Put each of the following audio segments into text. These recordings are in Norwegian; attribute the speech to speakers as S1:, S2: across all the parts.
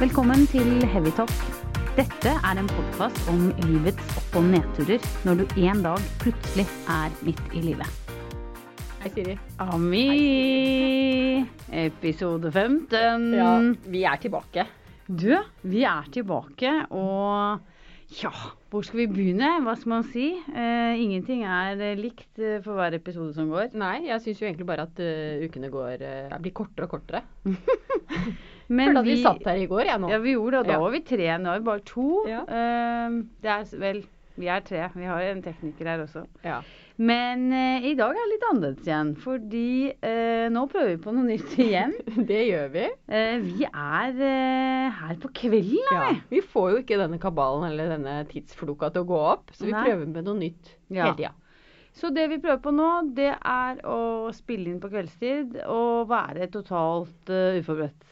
S1: Velkommen til Heavytalk. Dette er en podkast om livets opp- og nedturer når du en dag plutselig er midt i livet.
S2: Hei, Siri.
S1: Ami! Episode 15.
S2: Ja, vi er tilbake.
S1: Du, vi er tilbake, og ja, hvor skal vi begynne? Hva skal man si? Eh, ingenting er eh, likt eh, for hver episode som går.
S2: Nei, jeg syns jo egentlig bare at eh, ukene går, eh, blir kortere og kortere.
S1: Men
S2: Følte at vi satt her i går, jeg nå.
S1: Ja, vi gjorde det, og da
S2: Ja.
S1: var vi tre. Nå er vi bare to.
S2: Ja.
S1: Eh, det er s- vel Vi er tre. Vi har en tekniker her også.
S2: Ja.
S1: Men eh, i dag er det litt annerledes igjen, fordi eh, nå prøver vi på noe nytt igjen.
S2: Det gjør vi.
S1: Eh, vi er eh, her på kvelden,
S2: Ja.
S1: er vi?
S2: Vi får jo ikke denne kabalen eller denne tidsfloka til å gå opp, så vi
S1: Nei.
S2: prøver med noe nytt
S1: Ja.
S2: hele tida.
S1: Så det vi prøver på nå, det er å spille inn på kveldstid og være totalt eh, uforberedt.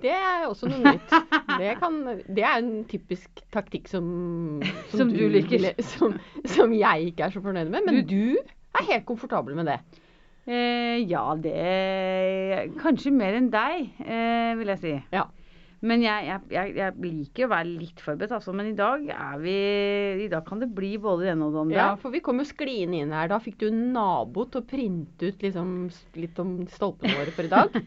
S2: Det er også noe nytt. Det, kan, det er en typisk taktikk som
S1: Som du liker.
S2: ville- Som, som jeg ikke er så fornøyd med, men du er helt komfortabel med det.
S1: Eh, ja, det Kanskje mer enn deg, eh, vil jeg si.
S2: Ja.
S1: Men jeg, jeg, jeg, jeg liker å være litt forberedt, altså. Men i dag er vi I dag kan det bli både det ene og det andre.
S2: Ja, for vi kom jo skliende inn her. Da fikk du en nabo til å printe ut liksom, s- litt om stolpene våre for i dag.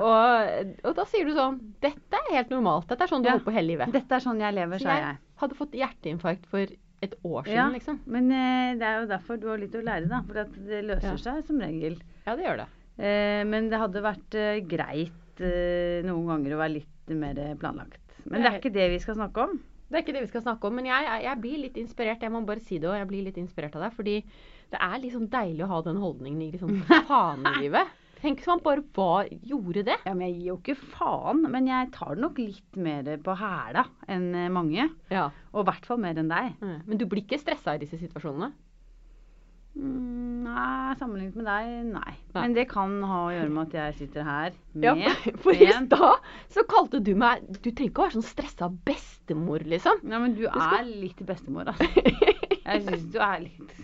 S2: og, og da sier du sånn Dette er helt normalt. Dette er sånn du
S1: Ja.
S2: holder på hele livet.
S1: Dette er sånn jeg lever,
S2: Så
S1: sa
S2: jeg
S1: jeg.
S2: hadde fått hjerteinfarkt for et år siden,
S1: Ja.
S2: liksom.
S1: Men eh, det er jo derfor du har litt å lære, da. For at det løser
S2: Ja.
S1: seg som regel.
S2: Ja, det gjør det.
S1: Eh, men det hadde vært eh, greit eh, noen ganger å være litt mer eh, planlagt. Men det er ikke det vi skal snakke om.
S2: Det er ikke det vi skal snakke om, men jeg, jeg- jeg blir litt inspirert. Jeg må bare si det òg. Jeg blir litt inspirert av deg. Fordi det er liksom deilig å ha den holdningen i liksom fanelivet. Tenk hvis man bare var, gjorde det.
S1: Ja, men Jeg gir jo ikke faen, men jeg tar det nok litt mer på hæla enn eh, mange.
S2: Ja.
S1: Og i hvert fall mer enn deg.
S2: Mm. Men du blir ikke stressa i disse situasjonene?
S1: Mm, nei, sammenlignet med deg, nei.
S2: Nei.
S1: Men det kan ha å gjøre med at jeg sitter her med
S2: Ja, for i
S1: en-
S2: stad så kalte du meg Du trenger ikke å være sånn stressa bestemor, liksom.
S1: Nei, men du
S2: skal-
S1: er litt bestemor, altså. Jeg syns du er litt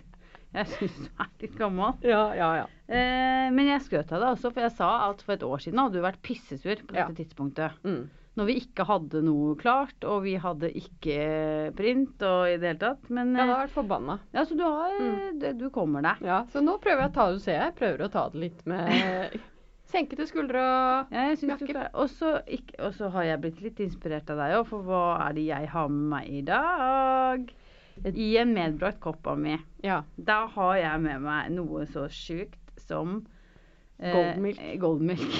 S1: Jeg syns du er litt gammel.
S2: ja, ja, ja.
S1: Eh, men jeg skrøt av deg også, for jeg sa at for et år siden hadde du vært pissesur på dette
S2: Ja.
S1: tidspunktet.
S2: Mm.
S1: Når vi ikke hadde noe klart, og vi hadde ikke print og i det hele tatt. Men
S2: Jeg
S1: eh,
S2: hadde vært forbanna.
S1: ja, så du har
S2: Mm.
S1: det- Du kommer deg.
S2: Ja, så nå prøver jeg å ta det, ser jeg. Prøver å ta det litt med senkede skuldre og
S1: Ja, jeg synes du
S2: Jakke.
S1: klarer Og så ikk- og så har jeg blitt litt inspirert av deg òg, for hva er det jeg har med meg i dag? I en medbrakt kopp av mi.
S2: Ja.
S1: Da har jeg med meg noe så sjukt som
S2: Goldmilk.
S1: Eh, goldmilk.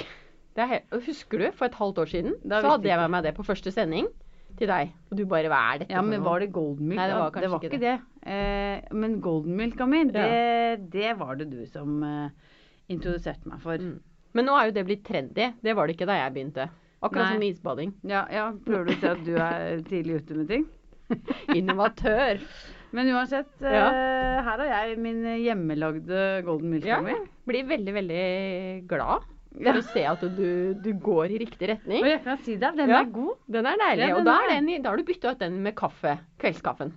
S2: Det er helt, og husker du, for et halvt år siden
S1: Da
S2: så
S1: visste
S2: hadde jeg med meg det på første sending til deg. Og du bare Hva er dette
S1: Ja, men
S2: for noe?
S1: var det goldmilk?
S2: Nei, det
S1: da?
S2: var kanskje
S1: det var
S2: ikke
S1: ikke det. Eh, men goldmilka mi, det, det var det du som eh, introduserte meg for.
S2: Mm. Men nå er jo det blitt trendy. Det var det ikke da jeg begynte. Akkurat
S1: Nei.
S2: som isbading.
S1: Ja, ja, prøver du å si at du er tidlig ute med ting?
S2: Innovatør.
S1: Men uansett, eh,
S2: Ja.
S1: her har jeg min hjemmelagde golden milka
S2: Ja,
S1: mi.
S2: blir veldig, veldig glad for
S1: Ja.
S2: å se at du, du går i riktig retning.
S1: Og jeg kan si deg, den
S2: Ja.
S1: er god.
S2: Den er deilig.
S1: Ja, den
S2: og da,
S1: er
S2: er
S1: det.
S2: den, i- da har du bytta ut den med kaffe. Kveldskaffen.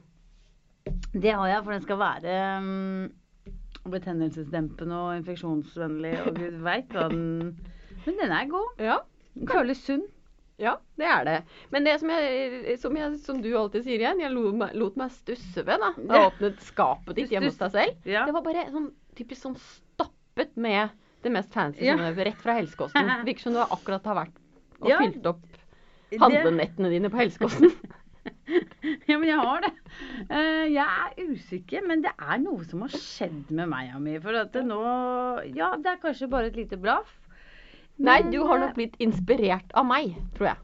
S1: Det har jeg, for den skal være um, betennelsesdempende og infeksjonsvennlig, og gud veit hva den Men den er god.
S2: Ja,
S1: Den føles sunn.
S2: ja, det er det. Men det som, jeg, som, jeg, som du alltid sier igjen, jeg lot meg, lot meg stusse ved da da jeg åpnet skapet ditt hjemme hos deg selv.
S1: Ja.
S2: Det var bare sånn typisk sånn stappet med det mest fancy
S1: Ja.
S2: som er rett fra helsekosten. Det Virker som du akkurat har vært og
S1: Ja.
S2: fylt opp
S1: Det-
S2: handlenettene dine på helsekosten.
S1: Ja, men jeg har det. Eh, jeg er usikker, men det er noe som har skjedd med meg, Ami. For at det nå Ja, det er kanskje bare et lite blaff.
S2: Nei,
S1: men-
S2: du har nok blitt inspirert av meg, tror jeg.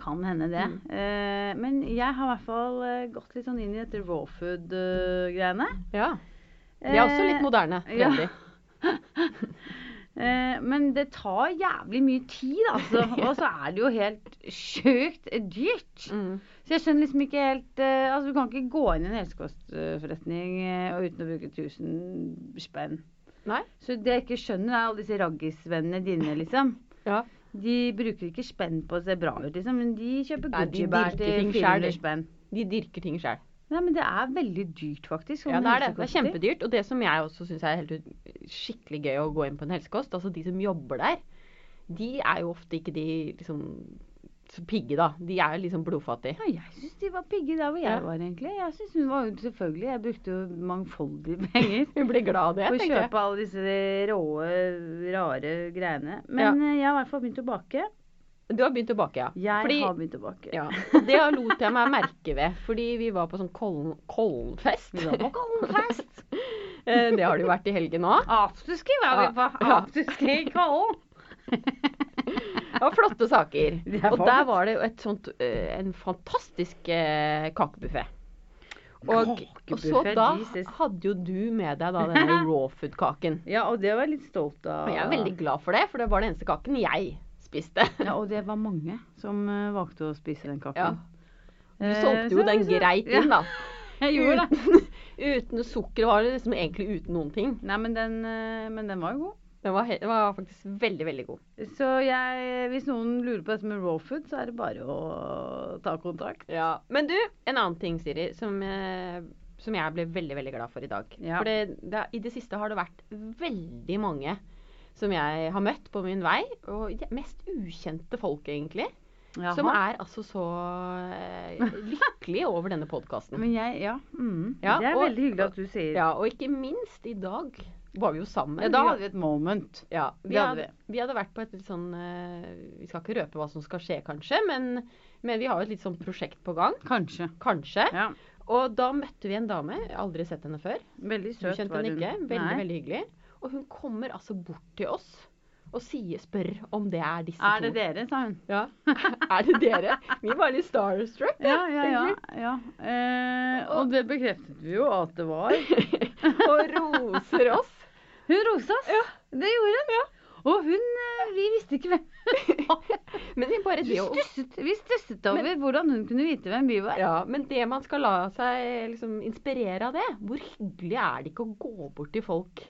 S1: Kan hende det.
S2: Mm.
S1: Eh, men jeg har i hvert fall eh, gått litt sånn inn i dette raw eh, food-greiene.
S2: Ja. Det er også
S1: Eh,
S2: litt moderne.
S1: ja.
S2: trendy.
S1: Eh, men det tar jævlig mye tid, altså. Og så er det jo helt sjukt dyrt.
S2: Mm.
S1: Så jeg skjønner liksom ikke helt eh, Altså, du kan ikke gå inn i en helsekostforretning eh, og uten å bruke 1000 spenn.
S2: Nei.
S1: Så det jeg ikke skjønner, er alle disse raggisvennene dine, liksom.
S2: Ja.
S1: De bruker ikke spenn på å se bra ut, liksom, men de kjøper
S2: Nei, de
S1: Gucci-bær
S2: dyrker
S1: til
S2: ting selv, de.
S1: 400 spenn.
S2: De dyrker ting sjøl.
S1: Nei, men det er veldig dyrt, faktisk.
S2: Ja,
S1: sånne
S2: det er det. Det er
S1: helsekoster.
S2: kjempedyrt. Og det som jeg også syns er helt ut- skikkelig gøy å gå inn på en helsekost, altså de som jobber der, de er jo ofte ikke de liksom så pigge, da. De er jo liksom blodfattige.
S1: Ja, jeg syns de var pigge der hvor jeg
S2: Ja.
S1: var, egentlig. Jeg synes hun var jo selvfølgelig Jeg brukte jo mangfoldige penger
S2: Vi blir glad av det,
S1: på å
S2: tenker jeg.
S1: kjøpe alle disse råe, rare greiene. Men eh, jeg har i hvert fall begynt å bake.
S2: Du har begynt å bake, ja.
S1: Jeg
S2: Fordi-
S1: har begynt å bake.
S2: Ja, Det lot jeg meg merke ved, fordi vi var på sånn Kollen- Kollenfest.
S1: Vi var på kollenfest!
S2: Eh, det har det jo vært i helgen òg.
S1: Afterski var vi på.
S2: Ja.
S1: Afterski i Kollen.
S2: Det var flotte saker.
S1: Det var
S2: Og der
S1: det.
S2: var det jo et sånt, eh, en fantastisk eh, kakebuffé. Og, og så
S1: Kakebuffé,
S2: da
S1: Jesus.
S2: hadde jo du med deg da denne raw food-kaken.
S1: Ja, og det var jeg litt stolt av.
S2: Og jeg er veldig glad for det, for det var den eneste kaken jeg spiste.
S1: Ja, og det var mange som eh, valgte å spise den
S2: Ja.
S1: kaken. Eh,
S2: Du solgte jo den greit inn, da.
S1: Jeg gjorde det.
S2: Uten, uten sukker var det liksom egentlig uten noen ting.
S1: Nei, men den, eh, men den var jo god.
S2: Den var, he- var faktisk veldig, veldig god.
S1: Så jeg, hvis noen lurer på dette med raw food, så er det bare å ta kontakt.
S2: Ja. Men du, en annen ting, Siri, som, eh, som jeg ble veldig veldig glad for i dag.
S1: Ja.
S2: For det, det, i det siste har det vært veldig mange som jeg har møtt på min vei. Og de mest ukjente folk, egentlig. Som
S1: Jaha.
S2: er altså så eh, lykkelige over denne podkasten.
S1: Men jeg, ja. Mm.
S2: Ja,
S1: det er
S2: og-
S1: veldig hyggelig at du sier.
S2: Ja, og ikke minst i dag var vi jo sammen.
S1: Ja, da hadde vi et moment.
S2: Ja, vi,
S1: Det hadde
S2: hadde, vi hadde vært på et litt sånn eh, Vi skal ikke røpe hva som skal skje, kanskje, men, men vi har jo et litt sånn prosjekt på gang.
S1: Kanskje.
S2: Kanskje.
S1: Ja.
S2: Og da møtte vi en dame. Jeg har aldri sett henne før.
S1: Veldig
S2: Du
S1: søt
S2: kjente
S1: var
S2: henne
S1: hun.
S2: ikke. Veldig,
S1: Nei.
S2: veldig hyggelig. Og hun kommer altså bort til oss og sier, spør om det er disse
S1: Er det
S2: to.
S1: dere, sa hun.
S2: Ja. er det dere? Vi var litt starstruck.
S1: Ja, ja, ja. ja. Eh, og det bekreftet vi jo at det var.
S2: og roser oss.
S1: Hun roste oss.
S2: Ja.
S1: Det gjorde hun. Og hun eh, Vi visste ikke hvem
S2: Men det er bare det å
S1: Vi stusset, vi stusset over hvordan hun kunne vite hvem vi var.
S2: Ja, men det man skal la seg liksom inspirere av det, hvor hyggelig er det ikke å gå bort til folk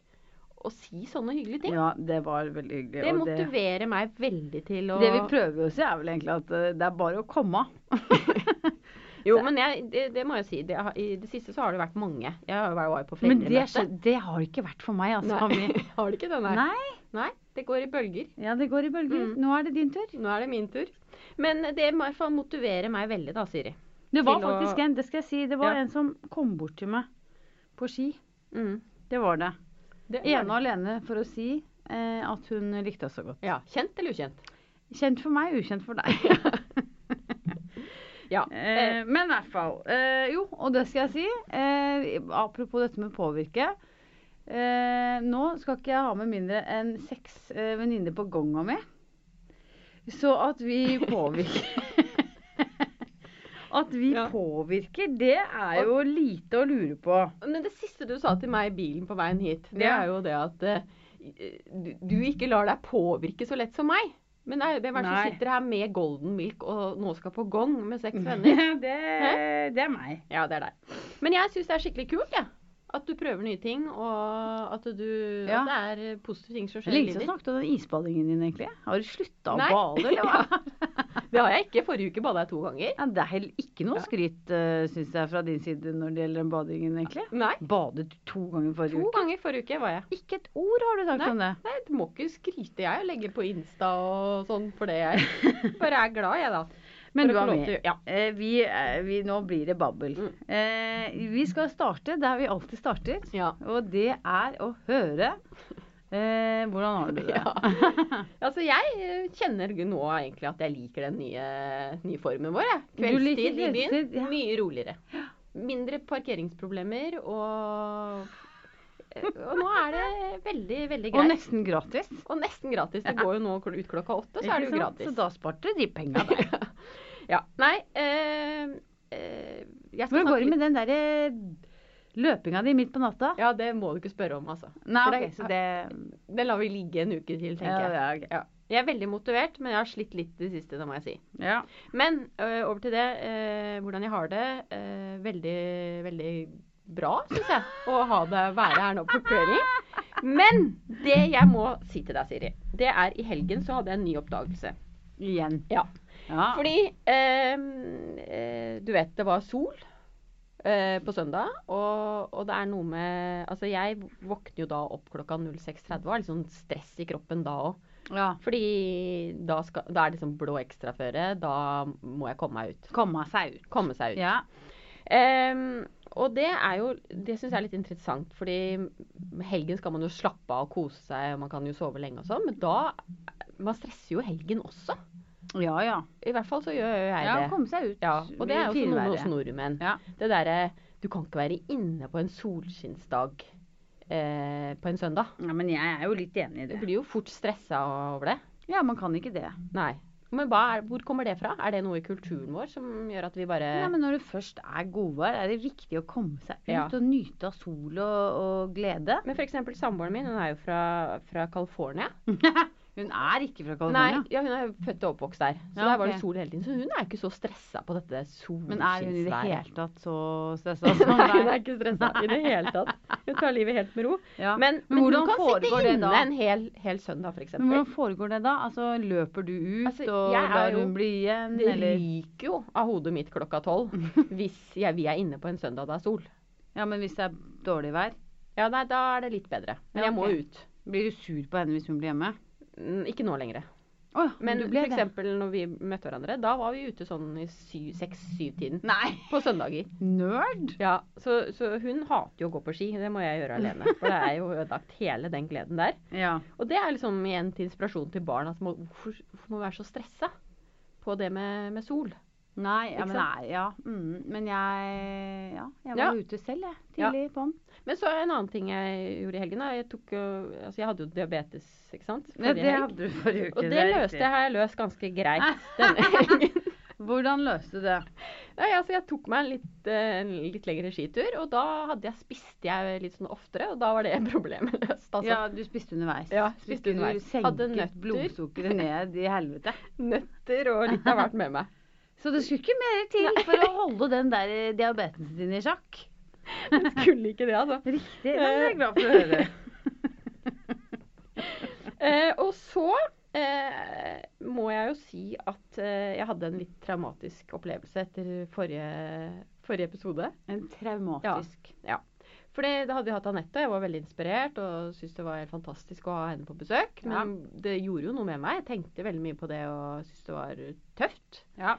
S2: og si sånne hyggelige ting?
S1: Ja, det var veldig hyggelig.
S2: det
S1: og
S2: motiverer meg veldig til å
S1: Det vi prøver å si, er vel egentlig at eh, det er bare å komme.
S2: Jo, men jeg, det, det må jeg si. Det, har- I det siste så har det vært mange. Jeg har jo vært på
S1: Men det,
S2: foreldremøte.
S1: skjed- det har ikke vært for meg, altså.
S2: Nei.
S1: Vi...
S2: Har det ikke det, nei?
S1: Nei.
S2: Nei, det går i bølger.
S1: Ja, det går i bølger.
S2: Mm.
S1: Nå er det din tur.
S2: Nå er det min tur. Men det må i hvert fall motivere meg veldig, da, Siri.
S1: Det var
S2: Til å-
S1: faktisk en, det skal jeg si, det var
S2: Ja.
S1: en som kom bort til meg på ski.
S2: Mm.
S1: Det var det.
S2: Det-
S1: Ene og alene for å si eh, at hun likte oss så godt.
S2: Ja. Kjent eller ukjent?
S1: Kjent for meg, ukjent for deg.
S2: Ja.
S1: eh, men i hvert fall. Eh, jo, og det skal jeg si. Eh, apropos dette med påvirke. Eh, nå skal ikke jeg ha med mindre enn seks eh, venninner på gonga mi. Så at vi påvirker At vi
S2: Ja.
S1: påvirker, det er jo lite å lure på.
S2: Men det siste du sa til meg i bilen på veien hit, det
S1: Ja.
S2: er jo det at eh, du, du ikke lar deg påvirke så lett som meg. Men det er jo hvem er det
S1: Nei.
S2: som sitter her med Golden Milk og nå skal på gong med seks venner?
S1: det, det er meg.
S2: Ja, det er deg. Men jeg syns det er skikkelig kult, jeg. At du prøver nye ting, og at, du,
S1: Ja.
S2: at det er positive ting som
S1: Det er lenge siden
S2: skjer i livet
S1: jeg
S2: ditt.
S1: snakket om den isballingen din, egentlig. Har du slutta å
S2: Nei.
S1: bale, eller hva?
S2: Det har jeg ikke. Forrige uke bada jeg to ganger.
S1: Ja, det er heller ikke noe
S2: Ja.
S1: skryt, uh, syns jeg, fra din side når det gjelder den badingen, egentlig.
S2: Nei.
S1: Badet du to ganger forrige
S2: To
S1: uke?
S2: ganger forrige uke var jeg.
S1: Ikke et ord har du sagt
S2: Nei.
S1: om det.
S2: Nei, Du må ikke skryte jeg og legge på Insta og sånn for det. Jeg bare er glad, jeg, da.
S1: Men
S2: For
S1: du
S2: å
S1: er
S2: få lov
S1: med.
S2: til- Ja.
S1: Eh, vi, eh, vi, nå blir det babbel.
S2: Mm.
S1: Eh, vi skal starte der vi alltid starter,
S2: ja.
S1: og det er å høre eh, hvordan har du det.
S2: Altså, jeg eh, kjenner nå egentlig at jeg liker den nye, nye formen vår. Jeg.
S1: Du liker
S2: Kveldstid i byen.
S1: kveldstid, ja.
S2: Mye roligere. Mindre parkeringsproblemer og eh, Og nå er det veldig, veldig
S1: Og
S2: greit.
S1: nesten gratis.
S2: Og nesten gratis. Det går jo nå kl- ut klokka åtte, så er det
S1: Ikke
S2: jo
S1: sant? Så
S2: gratis.
S1: da sparte du de penga der.
S2: Ja. Nei eh, eh, jeg skal
S1: Hvordan går
S2: snakke
S1: det
S2: litt
S1: med den derre løpinga di midt på natta?
S2: Ja, det må du ikke spørre om, altså.
S1: Nei,
S2: For
S1: ok,
S2: det-
S1: så det
S2: Det lar vi ligge en uke til,
S1: Ja,
S2: tenker jeg.
S1: det er ok.
S2: Jeg er veldig motivert, men jeg har slitt litt i det siste, det må jeg si.
S1: ja.
S2: Men øh, over til det, øh, hvordan jeg har det. øh, veldig, veldig bra, syns jeg, å ha det være her nå på kvelden. Men det jeg må si til deg, Siri, det er i helgen så hadde jeg en ny oppdagelse.
S1: Igjen.
S2: Ja.
S1: Ja.
S2: Fordi øhm, øh, du vet det var sol øh, på søndag, og, og det er noe med Altså jeg våkner jo da opp klokka 06.30 og har litt sånn stress i kroppen da òg.
S1: Ja.
S2: Fordi da, skal, da er det sånn blå ekstraføre. Da må jeg komme meg ut.
S1: Komme seg ut.
S2: Komme seg ut.
S1: Ja.
S2: Ehm, og det er jo Det syns jeg er litt interessant, fordi helgen skal man jo slappe av og kose seg, og man kan jo sove lenge og sånn, men da Man stresser jo helgen også.
S1: Ja, ja.
S2: I hvert fall så gjør jeg
S1: ja
S2: det.
S1: komme seg ut.
S2: Ja, og det er
S1: i
S2: jo også noe
S1: finværet.
S2: hos nordmenn.
S1: Ja.
S2: Det derre Du kan ikke være inne på en solskinnsdag eh, på en søndag.
S1: ja, men jeg er jo litt enig i
S2: Du
S1: det.
S2: blir jo fort stressa over det.
S1: Ja, man kan ikke det.
S2: Nei. Men hva er, hvor kommer det fra? Er det noe i kulturen vår som gjør at vi bare
S1: Nei, men når du først er godvær, er det viktig å komme seg ut
S2: Ja.
S1: og nyte av sol og, og glede.
S2: Men f.eks. samboeren min, hun er jo fra, fra California.
S1: Hun er ikke fra California.
S2: Nei, ja, hun er født og oppvokst der. Så
S1: Ja,
S2: der var
S1: ok.
S2: det sol hele tiden. Så hun er ikke så stressa på dette
S1: Men er hun i det
S2: solskinnsværet.
S1: hele tatt så stressa som
S2: Nei, hun
S1: deg?
S2: er ikke stressa i det hele tatt. Hun tar livet helt med ro.
S1: Ja. Men,
S2: Men, men
S1: hvordan
S2: hun kan
S1: foregår
S2: sitte
S1: det
S2: inne
S1: da?
S2: en hel, hel søndag, f.eks.
S1: hvordan foregår det da? Altså, løper du ut
S2: Altså,
S1: og
S2: jeg er
S1: lar
S2: jo-
S1: hun bli igjen,
S2: Det
S1: eller?
S2: ryker jo av hodet mitt klokka tolv hvis jeg, vi er inne på en søndag det er sol.
S1: Ja, men hvis det er dårlig vær,
S2: Ja, nei, da er det litt bedre. Men
S1: Ja,
S2: jeg må
S1: ok.
S2: ut.
S1: blir du sur på henne hvis hun blir hjemme?
S2: Mm, Ikke nå lenger.
S1: Å ja,
S2: Men
S1: du ble
S2: for
S1: det.
S2: eksempel når vi møtte hverandre, da var vi ute sånn i seks-syv-tiden
S1: Nei!
S2: på søndager.
S1: Nerd?
S2: Ja, så, så hun hater jo å gå på ski. Det må jeg gjøre alene. For det er jo ødelagt hele den gleden der.
S1: Ja.
S2: Og det er liksom igjen til inspirasjon til barn. At må, hvorfor, hvorfor må vi være så stressa på det med, med sol?
S1: Nei, ja,
S2: Ikke
S1: men,
S2: sant?
S1: nei, ja. Mm, men jeg Ja, jeg var
S2: Ja.
S1: ute selv, jeg.
S2: Ja.
S1: Tidlig på'n.
S2: Men så er en annen ting jeg gjorde i helgen. Da. Jeg, tok, jo- altså, jeg hadde jo diabetes, ikke sant?
S1: Ja,
S2: forrige
S1: det
S2: helg.
S1: hadde du forrige uke.
S2: Og det
S1: er
S2: løste
S1: riktig.
S2: jeg, har jeg løst ganske greit denne helgen.
S1: Hvordan løste du det?
S2: Nei, altså jeg tok meg en litt, eh, en litt lengre skitur, og da hadde jeg, spiste jeg litt sånn oftere, og da var det problemet løst. Altså.
S1: Ja, du spiste underveis.
S2: Ja,
S1: Så
S2: spiste
S1: skulle
S2: underveis.
S1: Du
S2: Hadde
S1: senket
S2: nøtter.
S1: blodsukkeret ned i helvete.
S2: Nøtter og litt har vært med meg.
S1: Så det skulle ikke mer til for å holde den der eh, diabetesen din i sjakk.
S2: Jeg skulle ikke det, altså.
S1: Riktig. Det er jeg glad for å høre.
S2: Eh, og så eh, må jeg jo si at eh, jeg hadde en litt traumatisk opplevelse etter forrige, forrige episode.
S1: En traumatisk
S2: For det, da hadde vi hatt Anette, og jeg var veldig inspirert og syntes det var helt fantastisk å ha henne på besøk. Men det gjorde jo noe med meg. Jeg tenkte veldig mye på det og syntes det var tøft.
S1: Ja.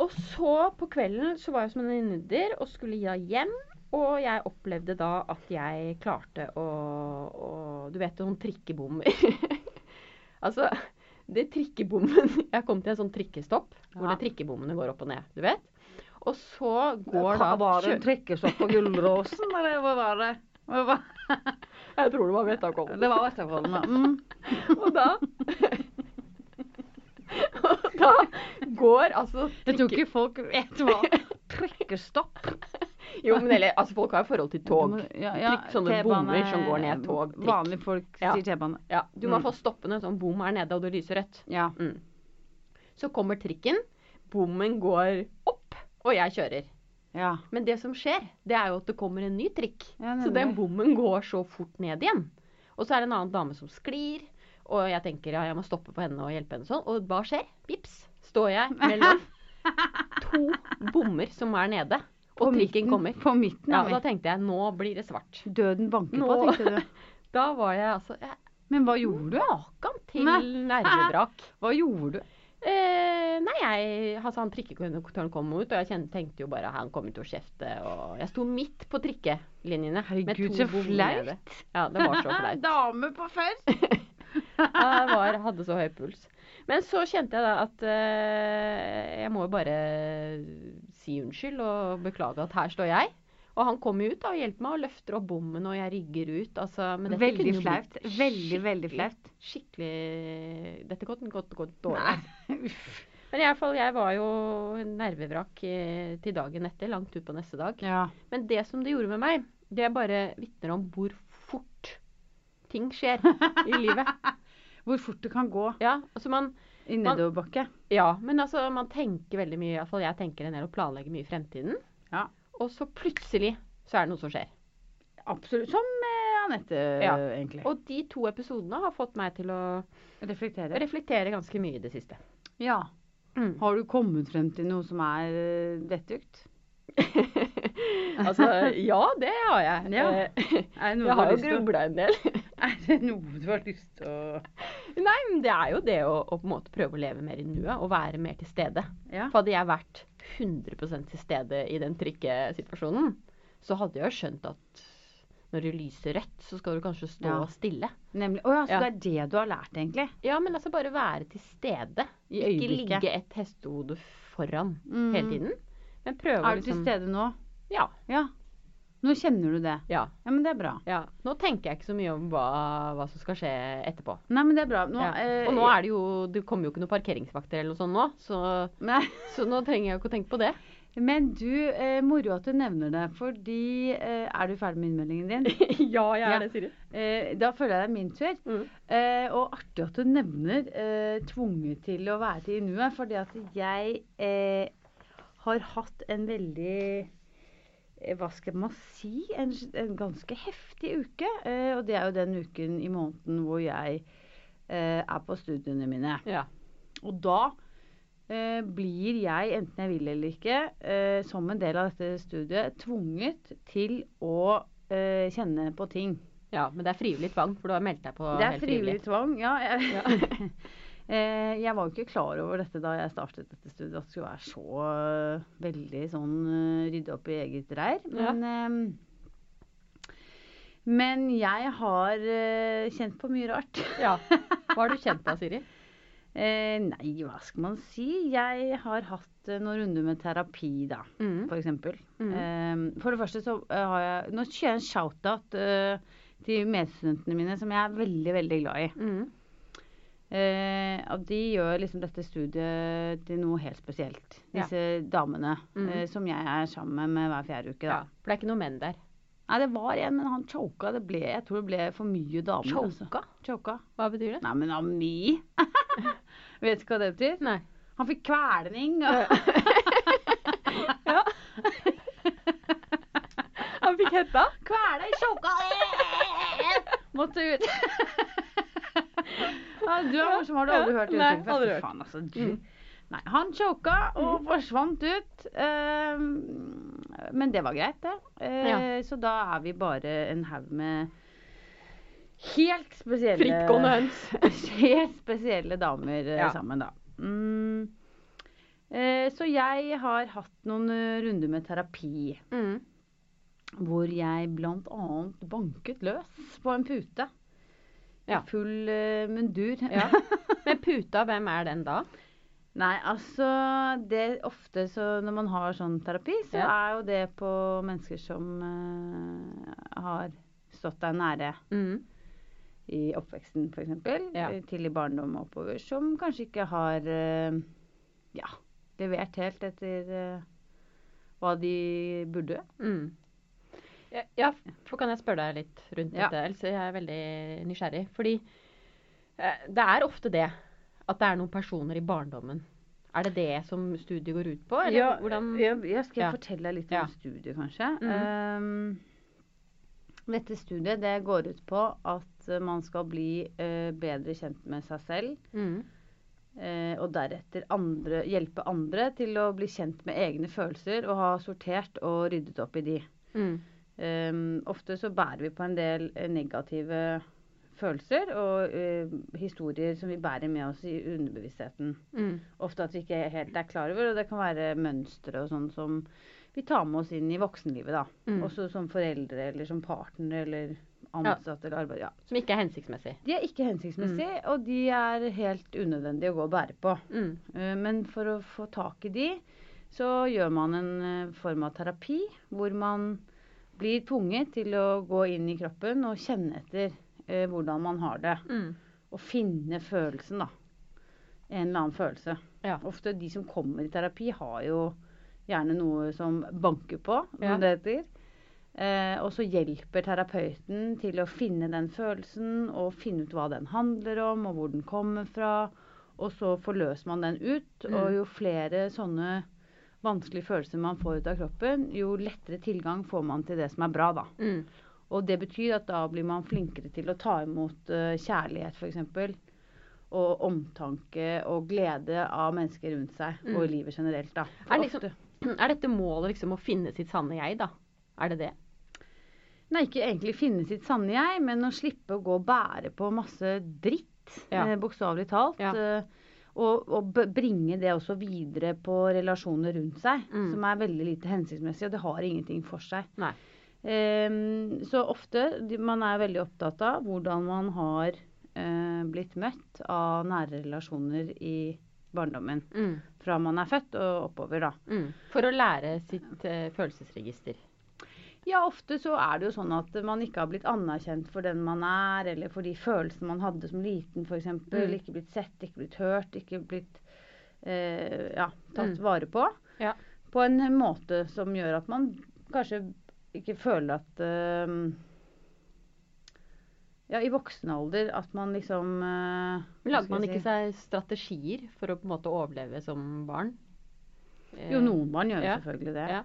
S2: Og så på kvelden så var jeg som en nynner og skulle da hjem. Og jeg opplevde da at jeg klarte å, å Du vet sånn trikkebommer. altså, det trikkebommen Jeg kom til en sånn trikkestopp hvor
S1: Ja.
S2: det trikkebommene går opp og ned. Du vet? Og så går da
S1: Var det en trekkestopp på Gullråsen, eller hva var det? Hva var-
S2: Jeg tror det var Vettakollen.
S1: Det var Vettakollen, da. Mm.
S2: Og da Og da går altså
S1: Jeg tror ikke folk vet hva trekkestopp
S2: Jo, men eller, altså, folk har jo forhold til tog.
S1: Ja,
S2: Trikk- sånne
S1: T-bane-
S2: bommer som går ned tog, trikk.
S1: Vanlige folk
S2: Ja.
S1: sier T-bane.
S2: Ja, du må
S1: Mm.
S2: få stoppende sånn bom her nede, og det lyser rødt.
S1: Ja.
S2: Mm. Så kommer trikken, bommen går opp, og jeg kjører.
S1: ja.
S2: Men det som skjer, det er jo at det kommer en ny trikk.
S1: Ja,
S2: så den
S1: nemlig.
S2: bommen går så fort ned igjen. Og så er det en annen dame som sklir, og jeg tenker ja, jeg må stoppe på henne og hjelpe henne sånn. Og hva skjer? Vips, står jeg mellom to bommer som er nede, og trikken
S1: midten-
S2: kommer.
S1: På midten
S2: Ja,
S1: av
S2: da
S1: meg.
S2: tenkte jeg nå blir det svart.
S1: Døden banker på,
S2: Nå-
S1: tenkte du.
S2: Da var jeg altså jeg,
S1: Men hva gjorde du?
S2: Makan til
S1: Nei.
S2: nervevrak.
S1: Hva gjorde du?
S2: Eh, nei, jeg, altså han trikkekonduktøren kom ut, og jeg kjen- tenkte jo bare han kommer til å kjefte. Og jeg sto midt på trikkelinjene. med
S1: Herregud,
S2: to
S1: så
S2: bommer
S1: flaut.
S2: nede. Ja, det var så flaut.
S1: Dame på fest!
S2: Jeg var, hadde så høy puls. Men så kjente jeg da at eh, jeg må jo bare si unnskyld og beklage at her står jeg. Og han kommer jo ut da og hjelper meg og løfter opp bommen, og jeg rigger ut. Altså, men dette kunne
S1: Veldig
S2: jo blitt
S1: flaut. Veldig, veldig
S2: skikkelig-
S1: flaut.
S2: Skikkelig Dette gått, gått, gått dårlig.
S1: Nei, uff.
S2: Men i alle fall, jeg var jo nervevrak eh, til dagen etter, langt ut på neste dag.
S1: Ja.
S2: Men det som det gjorde med meg, det bare vitner om hvor fort ting skjer i livet.
S1: Hvor fort det kan gå
S2: Ja, altså man,
S1: i nedoverbakke.
S2: ja men altså man tenker veldig mye, iallfall jeg tenker en del og planlegger mye i fremtiden.
S1: Ja.
S2: Og så plutselig så er det noe som skjer.
S1: Absolutt. Som eh, Anette,
S2: Ja.
S1: egentlig.
S2: Og de to episodene har fått meg til å
S1: Reflektere.
S2: reflektere ganske mye i det siste.
S1: Ja.
S2: Mm.
S1: Har du kommet frem til noe som er eh, vettugt?
S2: altså, ja, det har jeg.
S1: Ja.
S2: Eh,
S1: Er det
S2: Jeg har jo
S1: til å-
S2: grubla en del.
S1: Er det noe du har lyst til å
S2: Nei, men det er jo det å, å på en måte prøve å leve mer i nuet og være mer til stede.
S1: Ja.
S2: For hadde jeg vært 100 til stede i den trikkesituasjonen, så hadde jeg jo skjønt at når det lyser rødt, så skal du kanskje stå
S1: Ja.
S2: stille.
S1: Nemlig. Å ja, så
S2: Ja.
S1: det er det du har lært, egentlig.
S2: Ja, men altså bare være til stede.
S1: I
S2: Ikke
S1: øyeblikket.
S2: ligge et hestehode foran
S1: Mm.
S2: hele tiden. Men prøve å
S1: Er du til
S2: liksom
S1: stede nå?
S2: Ja.
S1: Ja. Nå kjenner du det.
S2: Ja.
S1: Ja, men det er bra.
S2: ja. Nå tenker jeg ikke så mye om hva, hva som skal skje etterpå.
S1: Nei, men det er bra. Nå,
S2: ja.
S1: eh,
S2: Og nå er det jo Det kommer jo ikke noen parkeringsvakter eller noe sånt nå, så
S1: Nei.
S2: Så nå trenger jeg ikke å tenke på det.
S1: Men du, eh, moro at du nevner det, fordi eh, Er du ferdig med innmeldingen din?
S2: ja, jeg
S1: Ja.
S2: det, Siri.
S1: Eh, da føler jeg det er min tur.
S2: Mm.
S1: Eh, og artig at du nevner eh, tvunget til å være til i nuet, fordi at jeg eh, har hatt en veldig eh, hva skal man si? En, en ganske heftig uke. Eh, og det er jo den uken i måneden hvor jeg eh, er på studiene mine.
S2: Ja.
S1: Og da eh, blir jeg, enten jeg vil eller ikke, eh, som en del av dette studiet, tvunget til å eh, kjenne på ting.
S2: ja, men det er frivillig tvang, for du har meldt deg på
S1: Det er
S2: helt
S1: frivillig tvang, ja. Jeg,
S2: Ja.
S1: Eh, jeg var jo ikke klar over dette da jeg startet dette studiet, at det skulle være så eh, veldig sånn eh, rydde opp i eget reir.
S2: Ja.
S1: Men, ehm, men jeg har eh, kjent på mye rart.
S2: Ja. Hva har du kjent da, Siri?
S1: Eh, nei, hva skal man si? Jeg har hatt eh, noen runder med terapi, da, for eksempel. Mm.
S2: Mm.
S1: Eh, for det første så eh, har jeg Nå kjører jeg en shout-out eh, til medstudentene mine, som jeg er veldig, veldig glad i.
S2: Mm.
S1: Eh, og de gjør liksom dette studiet til noe helt spesielt.
S2: Ja.
S1: Disse damene
S2: Mhm.
S1: eh, som jeg er sammen med hver fjerde uke. Da.
S2: Ja. For det er ikke noe menn der.
S1: Nei, det var en, men han choka. Det ble, jeg tror det ble for mye damer. altså.
S2: Choka?
S1: Choka.
S2: Hva betyr det?
S1: Nei, men Ami! Vet ikke hva det betyr.
S2: Nei.
S1: Han fikk kvelning. Og...
S2: Ja. Han fikk hetta.
S1: Kvele i choka! Måtte ut. ja, du er morsom. Har du aldri
S2: Ja,
S1: hørt det
S2: nei,
S1: uttrykket? før?
S2: aldri
S1: Fy
S2: hørt.
S1: Faen, altså, du.
S2: Mm.
S1: Nei, han choka og forsvant ut. eh, men det var greit, det. Eh,
S2: Ja.
S1: Så da er vi bare en haug med helt spesielle
S2: Frittgående høns.
S1: Helt spesielle damer eh,
S2: Ja.
S1: sammen, da. Mm. Eh, så jeg har hatt noen eh, runder med terapi
S2: Mm.
S1: hvor jeg blant annet banket løs på en pute.
S2: Ja.
S1: I full eh, mundur.
S2: Ja. Men puta, hvem er den da?
S1: Nei, altså det Ofte så når man har sånn terapi, så
S2: Ja.
S1: er jo det på mennesker som eh, har stått deg nære
S2: Mm.
S1: i oppveksten, f.eks.
S2: Ja.
S1: Til i barndom og oppover. Som kanskje ikke har eh, ja, levert helt etter eh, hva de burde.
S2: Mm. Ja, ja, for kan jeg spørre deg litt rundt
S1: Ja.
S2: dette? Else, jeg er veldig nysgjerrig. Fordi eh, det er ofte det at det er noen personer i barndommen. Er det det som studiet går ut på? Eller
S1: Ja,
S2: hvordan
S1: ja, ja, skal jeg
S2: Ja.
S1: fortelle deg litt om
S2: Ja.
S1: studiet, kanskje?
S2: Mhm.
S1: Ehm, dette studiet det går ut på at eh, man skal bli eh, bedre kjent med seg selv.
S2: Mm.
S1: eh, og deretter andre, hjelpe andre til å bli kjent med egne følelser og ha sortert og ryddet opp i de.
S2: Mm.
S1: Ehm, ofte så bærer vi på en del eh, negative følelser og eh, historier som vi bærer med oss i underbevisstheten
S2: Mm.
S1: ofte at vi ikke helt er klar over. Og det kan være mønstre og sånn som vi tar med oss inn i voksenlivet. da.
S2: Mm.
S1: Også som foreldre eller som partner eller ansatte eller arbeid. Ja.
S2: Som ikke er hensiktsmessig.
S1: De er ikke hensiktsmessige, og de er helt unødvendige å gå og bære på.
S2: Mm.
S1: Eh, Men for å få tak i de, så gjør man en eh, form av terapi hvor man blir tvunget til å gå inn i kroppen og kjenne etter eh, hvordan man har det.
S2: Mm.
S1: Å finne følelsen, da. En eller annen følelse.
S2: Ja.
S1: Ofte de som kommer i terapi, har jo gjerne noe som banker på, som
S2: Ja.
S1: det heter. Eh, og så hjelper terapeuten til å finne den følelsen, og finne ut hva den handler om, og hvor den kommer fra. Og så forløser man den ut.
S2: Mm.
S1: Og jo flere sånne vanskelige følelser man får ut av kroppen, jo lettere tilgang får man til det som er bra, da.
S2: Mm.
S1: Og det betyr at da blir man flinkere til å ta imot eh, kjærlighet, f.eks. Og omtanke og glede av mennesker rundt seg,
S2: Mm.
S1: og i livet generelt, da. For
S2: Er liksom-
S1: ofte-
S2: Er dette målet liksom å finne sitt sanne jeg, da? Er det det?
S1: Nei, ikke egentlig finne sitt sanne jeg, men å slippe å gå og bære på masse dritt sitt,
S2: Ja.
S1: eh, bokstavelig talt.
S2: Ja.
S1: eh, Og, og b- bringe det også videre på relasjoner rundt seg,
S2: Mm.
S1: som er veldig lite hensiktsmessig, og det har ingenting for seg.
S2: Nei.
S1: Ehm, så ofte de- man er veldig opptatt av hvordan man har eh, blitt møtt av nære relasjoner i barndommen.
S2: Mm.
S1: Fra man er født og oppover, da.
S2: Mm. For å lære sitt eh, følelsesregister.
S1: Ja, ofte så er det jo sånn at man ikke har blitt anerkjent for den man er, eller for de følelsene man hadde som liten, f.eks. eksempel
S2: Mm.
S1: Ikke blitt sett, ikke blitt hørt, ikke blitt eh, ja, tatt
S2: Mm.
S1: vare på.
S2: Ja.
S1: På en måte som gjør at man kanskje ikke føler at eh, Ja, i voksen alder at man liksom eh, hva
S2: Men lagde
S1: skal
S2: man
S1: jeg
S2: ikke
S1: si?
S2: seg strategier for å på en måte overleve som barn? Eh,
S1: Jo, noen barn gjør jo
S2: ja,
S1: selvfølgelig det.
S2: ja.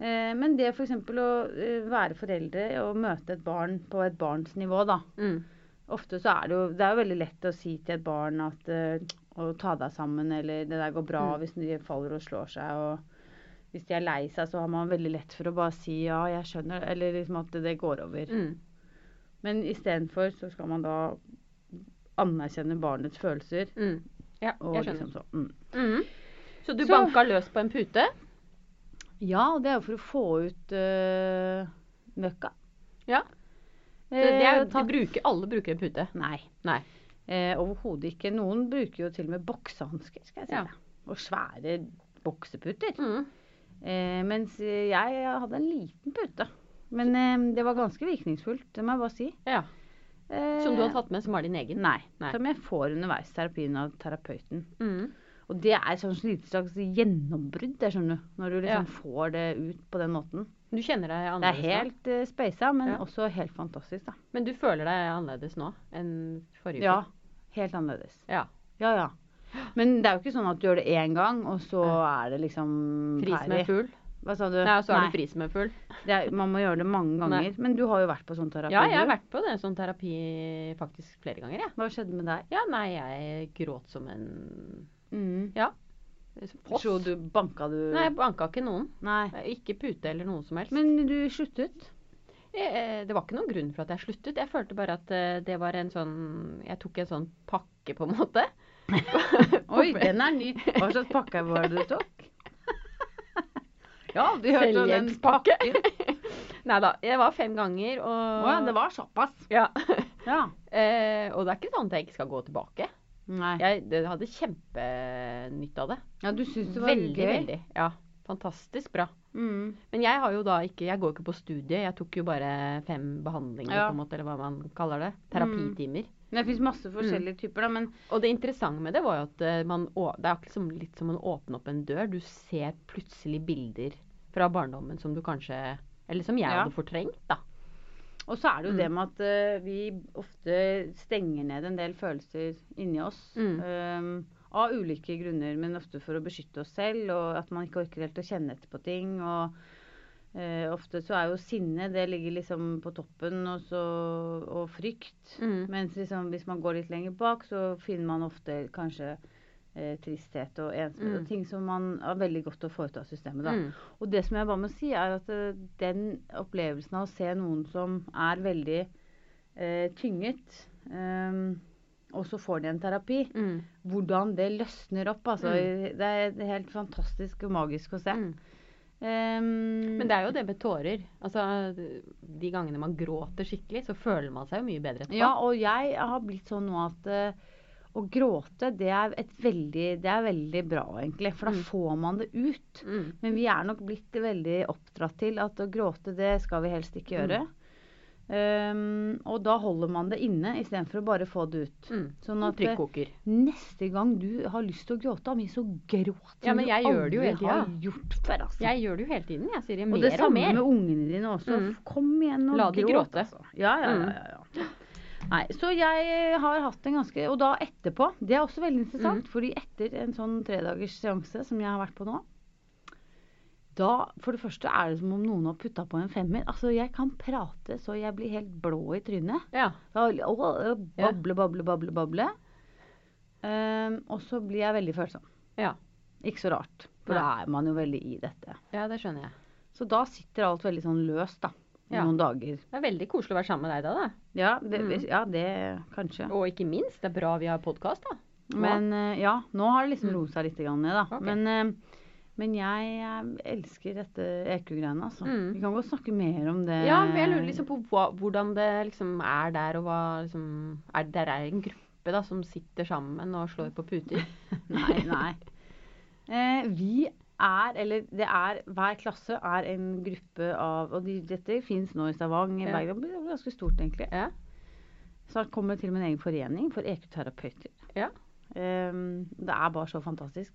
S1: Eh, men det f.eks. å eh, være foreldre og møte et barn på et barns nivå, da.
S2: Mm.
S1: Ofte så er det jo Det er jo veldig lett å si til et barn at eh, å ta deg sammen, eller det der går bra
S2: Mm.
S1: hvis de faller og slår seg, og hvis de er lei seg, så har man veldig lett for å bare si ja, jeg skjønner, eller liksom at det går over.
S2: Mm.
S1: Men istedenfor så skal man da anerkjenne barnets følelser.
S2: Mm. Ja,
S1: Og
S2: jeg skjønner.
S1: liksom så, mm.
S2: Mhm. Så du
S1: Så-
S2: banka løs på en pute?
S1: Ja, og det er jo for å få ut eh, møkka.
S2: Ja. Det,
S1: Eh,
S2: det er,
S1: ta-
S2: de bruker, alle bruker en pute.
S1: Nei.
S2: Nei.
S1: Eh, Overhodet ikke. Noen bruker jo til og med boksehansker, skal jeg si
S2: Ja.
S1: deg. Og svære bokseputer.
S2: Mm.
S1: Eh, mens eh, jeg hadde en liten pute. Men eh, det var ganske virkningsfullt, det må jeg bare si.
S2: Ja.
S1: Eh,
S2: Som du har tatt med, som har din egen?
S1: Nei,
S2: Nei.
S1: Som jeg får underveis terapien av terapeuten.
S2: Mm.
S1: Og det er sånn lite slags gjennombrudd, jeg skjønner du. Når du liksom
S2: Ja.
S1: får det ut på den måten.
S2: Du kjenner
S1: Det
S2: deg
S1: er
S2: annerledes nå?
S1: helt eh, speisa, men
S2: Ja.
S1: også helt fantastisk, da.
S2: Men du føler deg annerledes nå enn forrige
S1: Ja.
S2: uke?
S1: Helt annerledes.
S2: Ja.
S1: Ja, ja. Men det er jo ikke sånn at du gjør det én gang, og så er det liksom
S2: Fris
S1: ferdig.
S2: med fugl?
S1: Hva sa du?
S2: Nei, og så er
S1: Nei,
S2: du fris med fugl.
S1: det er, man må gjøre det mange ganger. Men du har jo vært på sånn terapi.
S2: Ja, jeg har
S1: du.
S2: vært på det sånn terapi faktisk flere ganger, jeg.
S1: Hva skjedde med deg?
S2: Ja. nei, jeg gråt som en
S1: Mm.
S2: post.
S1: Så du banka du
S2: Nei, jeg banka ikke noen.
S1: Nei.
S2: Ikke pute eller noen som helst.
S1: Men du sluttet?
S2: Eh, eh, Det var ikke noen grunn for at jeg sluttet. Jeg følte bare at eh, det var en sånn Jeg tok en sånn pakke, på en måte.
S1: Oi, den er ny. Hva slags pakke var det du tok? ja, du hørte om den
S2: Selvhjelpspakke. Nei da. Jeg var fem ganger, og
S1: Å ja, det var såpass.
S2: Ja.
S1: Ja.
S2: Eh, og det er ikke sånn at jeg ikke skal gå tilbake.
S1: Nei.
S2: Jeg det hadde kjempenytt av det.
S1: Ja, du syns det var
S2: Veldig,
S1: gøy?
S2: veldig. Ja. Fantastisk bra.
S1: Mm.
S2: Men jeg har jo da ikke Jeg går jo ikke på studie. Jeg tok jo bare fem behandlinger,
S1: Ja.
S2: på en måte, eller hva man kaller det. Terapitimer.
S1: Men det fins masse forskjellige typer, da. Men
S2: Og det interessante med det var jo at eh, man, å- det er akkurat som, litt som å åpne opp en dør. Du ser plutselig bilder fra barndommen som du kanskje Eller som jeg
S1: Ja.
S2: hadde fortrengt, da.
S1: Og så er det jo
S2: Mm.
S1: det med at eh, vi ofte stenger ned en del følelser inni oss.
S2: Mm.
S1: ehm, av ulike grunner, men ofte for å beskytte oss selv, og at man ikke orker helt å kjenne etter på ting. og eh, ofte så er jo sinne det ligger liksom på toppen, og, så, og frykt.
S2: Mm.
S1: Mens liksom, hvis man går litt lenger bak, så finner man ofte kanskje eh, tristhet og ensomhet.
S2: Mm.
S1: Og ting som man er veldig godt å få ut av systemet. da.
S2: Mm.
S1: Og det som jeg bare må si, er at eh, den opplevelsen av å se noen som er veldig eh, tynget, ehm, og så får de en terapi,
S2: Mm.
S1: hvordan det løsner opp, altså. Det er et helt fantastisk og magisk å se.
S2: Mm.
S1: Ehm,
S2: Men det er jo det med tårer. Altså, de gangene man gråter skikkelig, så føler man seg jo mye bedre etterpå.
S1: Ja, og jeg har blitt sånn nå at eh, å gråte, det er, et veldig, det er veldig bra, egentlig. For da
S2: Mm.
S1: får man det ut.
S2: Mm.
S1: Men vi er nok blitt veldig oppdratt til at å gråte, det skal vi helst ikke gjøre.
S2: Mm.
S1: Um, og da holder man det inne istedenfor å bare få det ut.
S2: Mm.
S1: Sånn at eh,
S2: Trykkoker.
S1: neste gang du har lyst til å gråte, Ami, så gråt som
S2: Ja, men jeg
S1: du
S2: gjør det jo
S1: aldri
S2: hele tida.
S1: har gjort før. Altså.
S2: Jeg gjør det jo hele tiden, jeg, Siri.
S1: og det
S2: Mer og,
S1: samme
S2: mer.
S1: med ungene dine også.
S2: Mm.
S1: Kom igjen og
S2: La de
S1: gråt.
S2: gråte. Mm.
S1: Altså. Ja, ja, ja, ja, ja. Nei, så jeg har hatt en ganske Og da etterpå. Det er også veldig
S2: Mm.
S1: interessant. fordi etter en sånn tredagers seanse som jeg har vært på nå da, For det første er det som om noen har putta på en femmer. Altså, Jeg kan prate så jeg blir helt blå i trynet.
S2: Ja.
S1: Da- å, å,
S2: Ja.
S1: øh, Bable, bable, bable, bable. Ehm, og så blir jeg veldig følsom.
S2: Ja.
S1: Ikke så rart, for da er man jo veldig i dette.
S2: ja, det skjønner jeg.
S1: Så da sitter alt veldig sånn løst, da. i
S2: Ja.
S1: noen dager.
S2: Det er veldig koselig å være sammen med deg da, da.
S1: Ja, det,
S2: Mm.
S1: ja, det kanskje.
S2: Og ikke minst, det er bra vi har podkast, da. Nå.
S1: Men eh, ja, nå har det liksom
S2: Mm.
S1: roet seg litt grann ned, da.
S2: Ok.
S1: Men, eh, men jeg eh, elsker dette EQ-greiene, altså.
S2: Mm.
S1: Vi kan godt snakke mer om det.
S2: Ja, men jeg lurer liksom på hva, hvordan det liksom er der, og hva liksom er, Der er en gruppe da, som sitter sammen og slår på puter.
S1: Nei, nei. Eh, vi er, eller det er, hver klasse er en gruppe av Og de, dette fins nå i Stavanger,
S2: Ja.
S1: Bergen. Det er ganske stort, egentlig.
S2: Ja.
S1: Snart kommer det til min egen forening for EQ-terapeuter.
S2: Ja.
S1: Ehm, det er bare så fantastisk.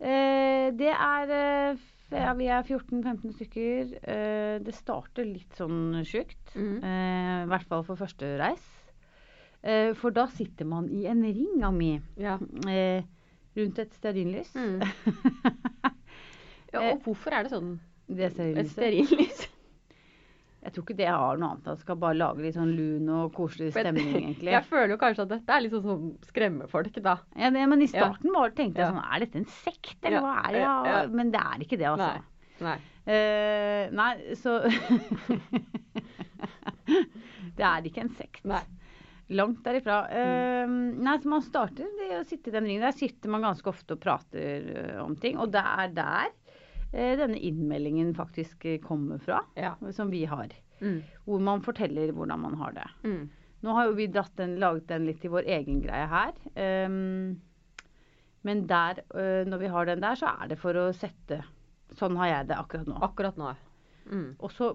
S1: Eh, det er eh, f- ja, Vi er 14-15 stykker. Eh, det starter litt sånn sjukt.
S2: Mhm.
S1: Eh, I hvert fall for første reis. Eh, for da sitter man i en ring, Ami.
S2: Ja.
S1: Eh, rundt et stearinlys.
S2: Mm.
S1: Eh,
S2: og hvorfor er det sånn?
S1: det
S2: Et
S1: stearinlyset.
S2: stearinlys?
S1: Jeg tror ikke det har noe annet. Jeg skal bare lage litt sånn lun og koselig
S2: For jeg-
S1: stemning, egentlig.
S2: Jeg føler jo kanskje at dette er litt sånn som skremmefolk, da.
S1: Ja, det, men i
S2: Ja.
S1: starten bare tenkte jeg
S2: Ja.
S1: sånn Er dette en sekt, eller
S2: Ja,
S1: hva er det?
S2: ja, ja.
S1: Men det er ikke det, altså.
S2: Nei. Nei.
S1: Eh, nei, så Det er ikke en sekt.
S2: Nei.
S1: Langt derifra. Eh, Nei, så man starter det å sitte i den ringen. Der sitter man ganske ofte og prater eh, om ting. Og det er der eh, denne innmeldingen faktisk eh, kommer fra,
S2: Ja.
S1: som vi har.
S2: Mm.
S1: Hvor man forteller hvordan man har det.
S2: Mm.
S1: Nå har jo vi dratt den, laget den litt i vår egen greie her. Ehm, men der, øh, når vi har den der, så er det for å sette Sånn har jeg det akkurat nå.
S2: Akkurat nå. Mm.
S1: Og så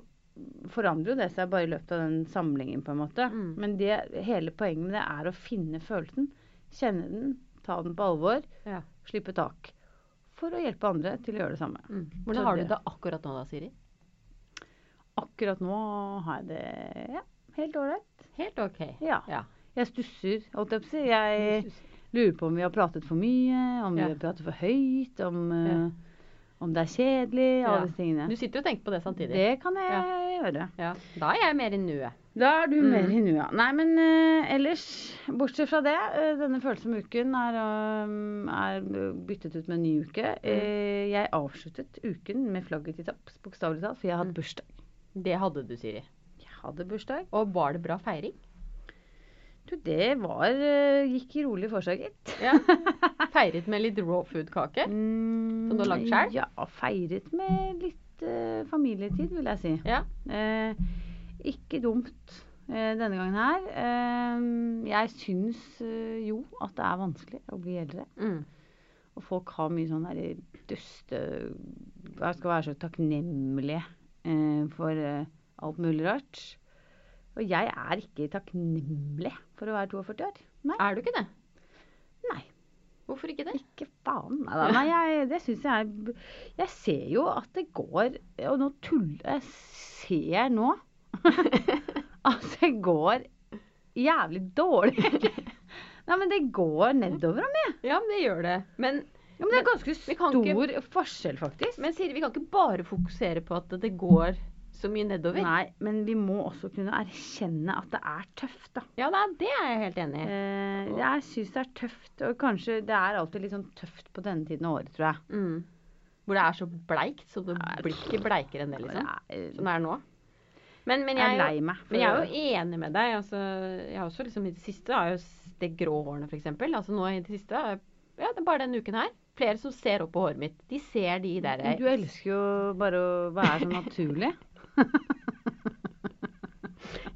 S1: forandrer jo det seg bare i løpet av den samlingen, på en måte.
S2: Mm.
S1: Men det, hele poenget med det er å finne følelsen, kjenne den, ta den på alvor,
S2: Ja.
S1: slippe tak. For å hjelpe andre til å gjøre det samme.
S2: Mm.
S1: Så
S2: Hvordan har du
S1: det-
S2: det akkurat nå da, Siri?
S1: Akkurat nå har jeg det ja, helt ålreit.
S2: Helt OK.
S1: Ja.
S2: Ja.
S1: Jeg stusser, holdt jeg på å si. Jeg
S2: Eh,
S1: Lurer på om vi har pratet for mye, om
S2: Ja.
S1: vi har pratet for høyt, om, eh,
S2: Ja.
S1: om det er kjedelig,
S2: Ja.
S1: alle disse tingene.
S2: Du sitter jo og tenker på det samtidig.
S1: Det kan jeg gjøre.
S2: Ja. Da er jeg mer i nuet.
S1: Da er du
S2: Mm.
S1: mer i nuet. Nei, men eh, ellers, bortsett fra det, eh, denne følelsen med uken er, um, er byttet ut med en ny uke.
S2: Mm.
S1: Eh, jeg avsluttet uken med flagget i topps, bokstavelig talt, for jeg hadde
S2: Mm.
S1: bursdag.
S2: Det hadde du, Siri.
S1: Jeg hadde bursdag.
S2: Og var det bra feiring?
S1: Du, det var eh, gikk rolig for seg, gitt.
S2: Ja. Feiret med litt raw food-kake?
S1: Mm,
S2: Som du har lagd selv?
S1: Ja, feiret med litt eh, familietid, vil jeg si.
S2: Ja.
S1: Eh, ikke dumt eh, denne gangen her. Eh, jeg syns eh, jo at det er vanskelig å bli eldre.
S2: Mm.
S1: Og folk har mye sånn derre duste Jeg skal være så takknemlige eh, for eh, alt mulig rart. Og jeg er ikke takknemlig for å være 42 år. Nei.
S2: Er du ikke det?
S1: Nei.
S2: Hvorfor ikke det?
S1: Ikke faen. Nei, da. nei jeg, det syns jeg er Jeg ser jo at det går Og nå tuller Jeg ser nå at det går jævlig dårlig. Nei, men det går nedover om jeg.
S2: Ja, men det gjør det. Men,
S1: Ja, men det er ganske
S2: vi kan ikke-
S1: stor forskjell, faktisk.
S2: men Siri, vi kan ikke bare fokusere på at det går så mye nedover.
S1: Nei, men vi må også kunne erkjenne at det er tøft, da.
S2: Ja, nei, det er jeg helt enig i.
S1: Eh, jeg syns det er tøft, og kanskje det er alltid litt sånn tøft på denne tiden av året, tror jeg.
S2: Mm. Hvor det er så bleikt, så det
S1: Nei.
S2: blir ikke bleikere enn det, liksom.
S1: Jeg
S2: Sånn er det nå. Men, men
S1: er- eh, jeg
S2: jeg
S1: er
S2: er jo-
S1: lei meg. for-
S2: Men jeg er jo enig med deg. Altså, jeg har også liksom i det siste har jeg jo s- det grå hårene, f.eks. Altså nå i det siste har jeg- Ja, det er bare denne uken her. Flere som ser opp på håret mitt. De ser de der
S1: Du elsker jo bare å være så naturlig.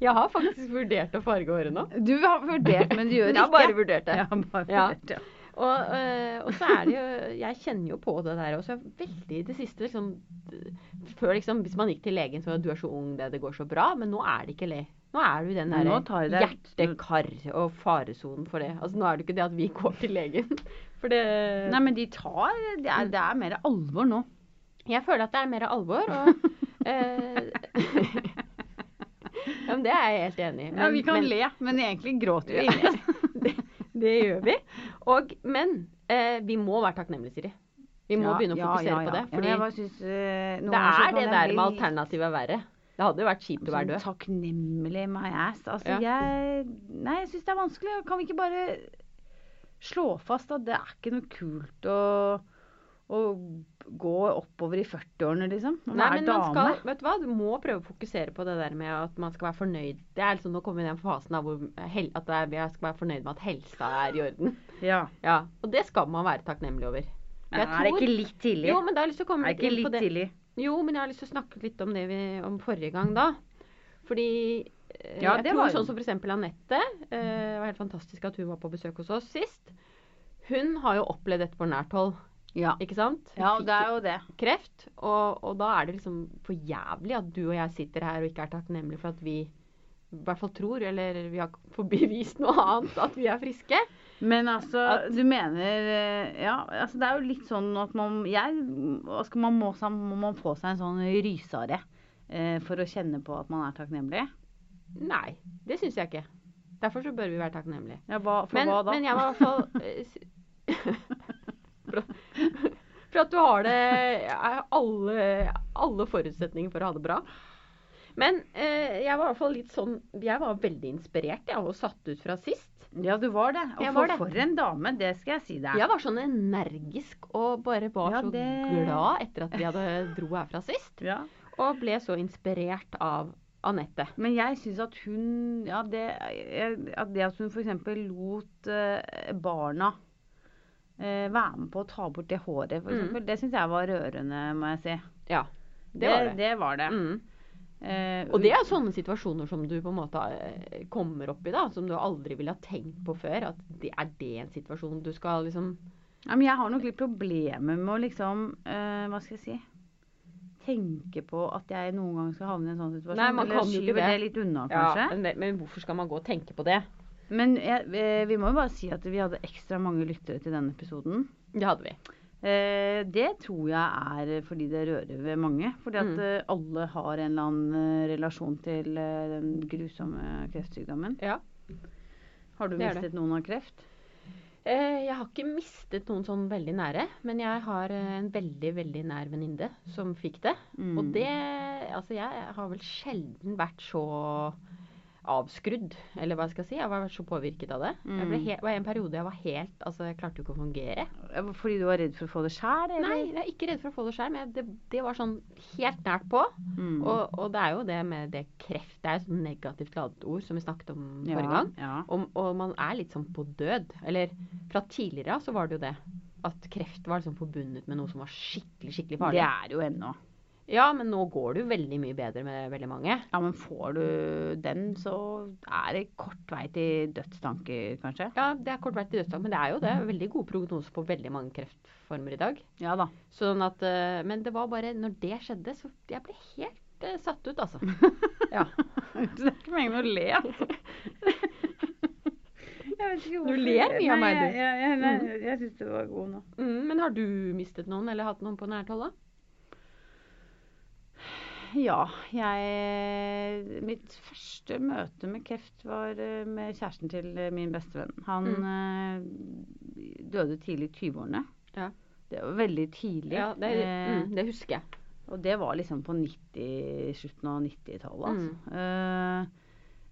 S2: Jeg har faktisk vurdert å farge håret nå.
S1: Du har vurdert, men du gjør
S2: Jeg
S1: ikke.
S2: har bare vurdert det.
S1: Jeg har bare
S2: Ja.
S1: vurdert, ja.
S2: Og, øh, og så er det jo Jeg kjenner jo på det der også. Jeg er Veldig i det siste liksom d- Før liksom Hvis man gikk til legen så var det, du er så ung, det, det går så bra. Men nå er det ikke le. Nå er du i den
S1: Men nå tar
S2: derre
S1: det-
S2: hjerte-kar- og faresonen for det. Altså Nå er det ikke det at vi går til legen. For det
S1: Nei, men de tar Det er, det er mer alvor nå.
S2: Jeg føler at det er mer alvor. Og, eh, ja, men det er jeg helt enig i.
S1: Ja, vi kan
S2: men,
S1: le, men egentlig gråter vi
S2: Ja.
S1: inni oss.
S2: det, det gjør vi. Og, men eh, vi må være takknemlige, Siri. Vi må begynne å fokusere på det. Fordi
S1: jeg bare synes, eh, noen
S2: det
S1: ganger så
S2: er
S1: kan
S2: det
S1: jeg
S2: der
S1: bli
S2: med alternativet er verre. Det hadde jo vært kjipt å være
S1: Sånn
S2: død.
S1: takknemlig my ass. Altså,
S2: Ja.
S1: jeg Nei, jeg syns det er vanskelig. Kan vi ikke bare slå fast at det er ikke noe kult å å gå oppover i 40-årene, liksom. Man
S2: Nei,
S1: er
S2: men
S1: dame.
S2: man skal, vet du hva, du må prøve å fokusere på det der med at man skal være fornøyd. Det er liksom, Nå kommer vi i den fasen av hvor hel, at det er, jeg skal være fornøyd med at helsa er i orden.
S1: Ja.
S2: Ja, Og det skal man være takknemlig over.
S1: Men er det ikke litt tidlig?
S2: Jo, men da har jeg lyst til å komme
S1: er det
S2: litt
S1: ikke
S2: inn på
S1: litt
S2: det.
S1: tidlig?
S2: Jo, men jeg har lyst til å snakke litt om det vi om forrige gang, da. Fordi eh,
S1: Ja,
S2: jeg
S1: det
S2: tror
S1: var hun.
S2: sånn som f.eks. Anette. eh, Det var helt fantastisk at hun var på besøk hos oss sist. Hun har jo opplevd dette på nært hold,
S1: Ja.
S2: ikke sant? Hun fikk
S1: det er jo det.
S2: kreft, og, og da er det liksom for jævlig at du og jeg sitter her og ikke er takknemlige for at vi i hvert fall tror, eller vi har fått bevist noe annet, at vi er friske.
S1: Men altså,
S2: At-
S1: du mener eh, Ja, altså det er jo litt sånn at man Jeg hva skal man må, sam- må man få seg en sånn rysare eh, for å kjenne på at man er takknemlig?
S2: Nei, det syns jeg ikke. Derfor så bør vi være takknemlige.
S1: Ja, hva, for
S2: Men,
S1: hva da?
S2: men jeg var i hvert fall eh, s- for, at- for at du har det er alle, alle forutsetninger for å ha det bra. Men eh, jeg var i hvert fall litt sånn Jeg var veldig inspirert, jeg, og satt ut fra sist.
S1: Ja, du var det. Og
S2: Jeg var
S1: for,
S2: det.
S1: for en dame, det skal jeg si deg.
S2: Jeg var sånn energisk og bare var
S1: Ja,
S2: så
S1: det-
S2: glad etter at vi hadde dro herfra sist.
S1: Ja.
S2: Og ble så inspirert av Anette.
S1: Men jeg syns at hun Ja, det, jeg- at, det at hun f.eks. lot eh, barna eh, være med på å ta bort det håret, for
S2: Mm.
S1: eksempel, det syns jeg var rørende, må jeg si.
S2: Ja, det var det.
S1: Det var det.
S2: Mm.
S1: Eh,
S2: Og det er sånne situasjoner som du på en måte eh, kommer opp i, da. Som du aldri ville ha tenkt på før. At det er det en situasjon du skal liksom
S1: ja, men jeg har nok litt problemer med å liksom eh, Hva skal jeg si? Tenke på at jeg noen gang skal havne i en sånn situasjon.
S2: Nei, man
S1: eller
S2: kan jo ikke
S1: skyver
S2: det.
S1: det litt unna, kanskje.
S2: men, det- men hvorfor skal man gå og tenke på det?
S1: Men jeg, eh, vi må jo bare si at vi hadde ekstra mange lyttere til denne episoden.
S2: Det hadde vi.
S1: Eh, det tror jeg er eh, fordi det rører ved mange. Fordi at
S2: Mm.
S1: eh, alle har en eller annen eh, relasjon til eh, den grusomme kreftsykdommen.
S2: Ja.
S1: Har du
S2: Det er
S1: mistet noen av kreft?
S2: Eh, Jeg har ikke mistet noen sånn veldig nære, men jeg har eh, en veldig, veldig nær venninne som fikk det.
S1: Mm.
S2: Og det Altså, jeg har vel sjelden vært så avskrudd, eller hva skal jeg si. Jeg har vært så påvirket av det. Jeg ble
S1: Mm.
S2: he- det var en periode jeg var helt Altså, jeg klarte jo ikke å fungere.
S1: Eh, Fordi du var redd for å få det sjæl, eller?
S2: Nei, jeg er ikke redd for å få det sjøl, men jeg- det, det var sånn helt nært på.
S1: Mm.
S2: Og, og det er jo det med det kreft Det er jo et sånn negativt ladet ord som vi snakket om
S1: ja,
S2: forrige gang.
S1: Ja.
S2: Og, og man er litt sånn på død. Eller fra tidligere av så var det jo det. At kreft var liksom forbundet med noe som var skikkelig skikkelig farlig.
S1: Det er det jo ennå.
S2: Ja, men nå går det jo veldig mye bedre med veldig mange.
S1: Ja, men får du den, så er det kort vei til dødstanker, kanskje.
S2: Ja, det er kort vei til dødsdag, men det er jo det.
S1: Mm.
S2: Veldig god prognose på veldig mange kreftformer i dag.
S1: Ja da.
S2: Sånn at, eh, men det var bare Når det skjedde, så jeg ble helt eh, satt ut, altså. Ja.
S1: Det er ikke meningen å le. Jeg vet ikke
S2: Du ler mye av meg, du.
S1: Nei, jeg, jeg, nei, jeg syns du var god nå.
S2: Mm, men har du mistet noen, eller hatt noen på nært hold, da?
S1: Ja, jeg Mitt første møte med kreft var eh, med kjæresten til eh, min bestevenn. Han eh, døde tidlig i 20-årene.
S2: Ja.
S1: Det var veldig tidlig.
S2: Ja, det,
S1: Eh,
S2: mm, det husker jeg.
S1: Og det var liksom på 90, slutten av 90-tallet. Altså.
S2: Mm.
S1: Eh,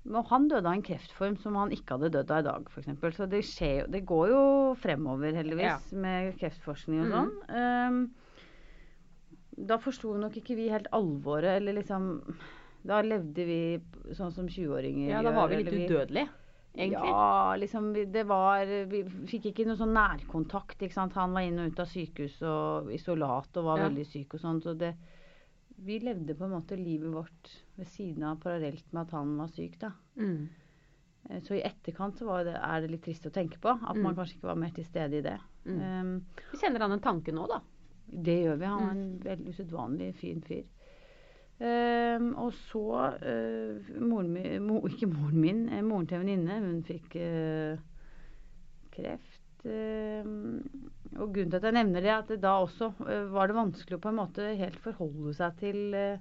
S1: men han døde av en kreftform som han ikke hadde dødd av i dag, f.eks. Så det, skjer, jo- det går jo fremover, heldigvis, med kreftforskning og sånn.
S2: Mhm.
S1: Eh, da forsto nok ikke vi helt alvoret, eller liksom Da levde vi p- sånn som 20-åringer
S2: Ja, da var vi
S1: gjør,
S2: litt
S1: eller
S2: udødelige, egentlig.
S1: Ja, liksom vi- det var Vi fikk ikke noe sånn nærkontakt, ikke sant. Han var inn og ut av sykehus og isolat og var
S2: Ja.
S1: veldig syk og sånn, så det Vi levde på en måte livet vårt ved siden av parallelt med at han var syk, da.
S2: Mm.
S1: Eh, Så i etterkant så var det, er det litt trist å tenke på. At man
S2: Mm.
S1: kanskje ikke var mer til stede i det.
S2: Mm.
S1: Ehm,
S2: Vi kjenner han en tanke nå, da.
S1: det gjør vi. Han er
S2: Mm.
S1: en veldig usedvanlig fin fyr. Ehm, og så eh, moren min, mo, Ikke moren min, eh, moren til en venninne, hun fikk eh, kreft. Ehm, og grunnen til at jeg nevner det, er at det da også eh, var det vanskelig å på en måte helt forholde seg til, eh,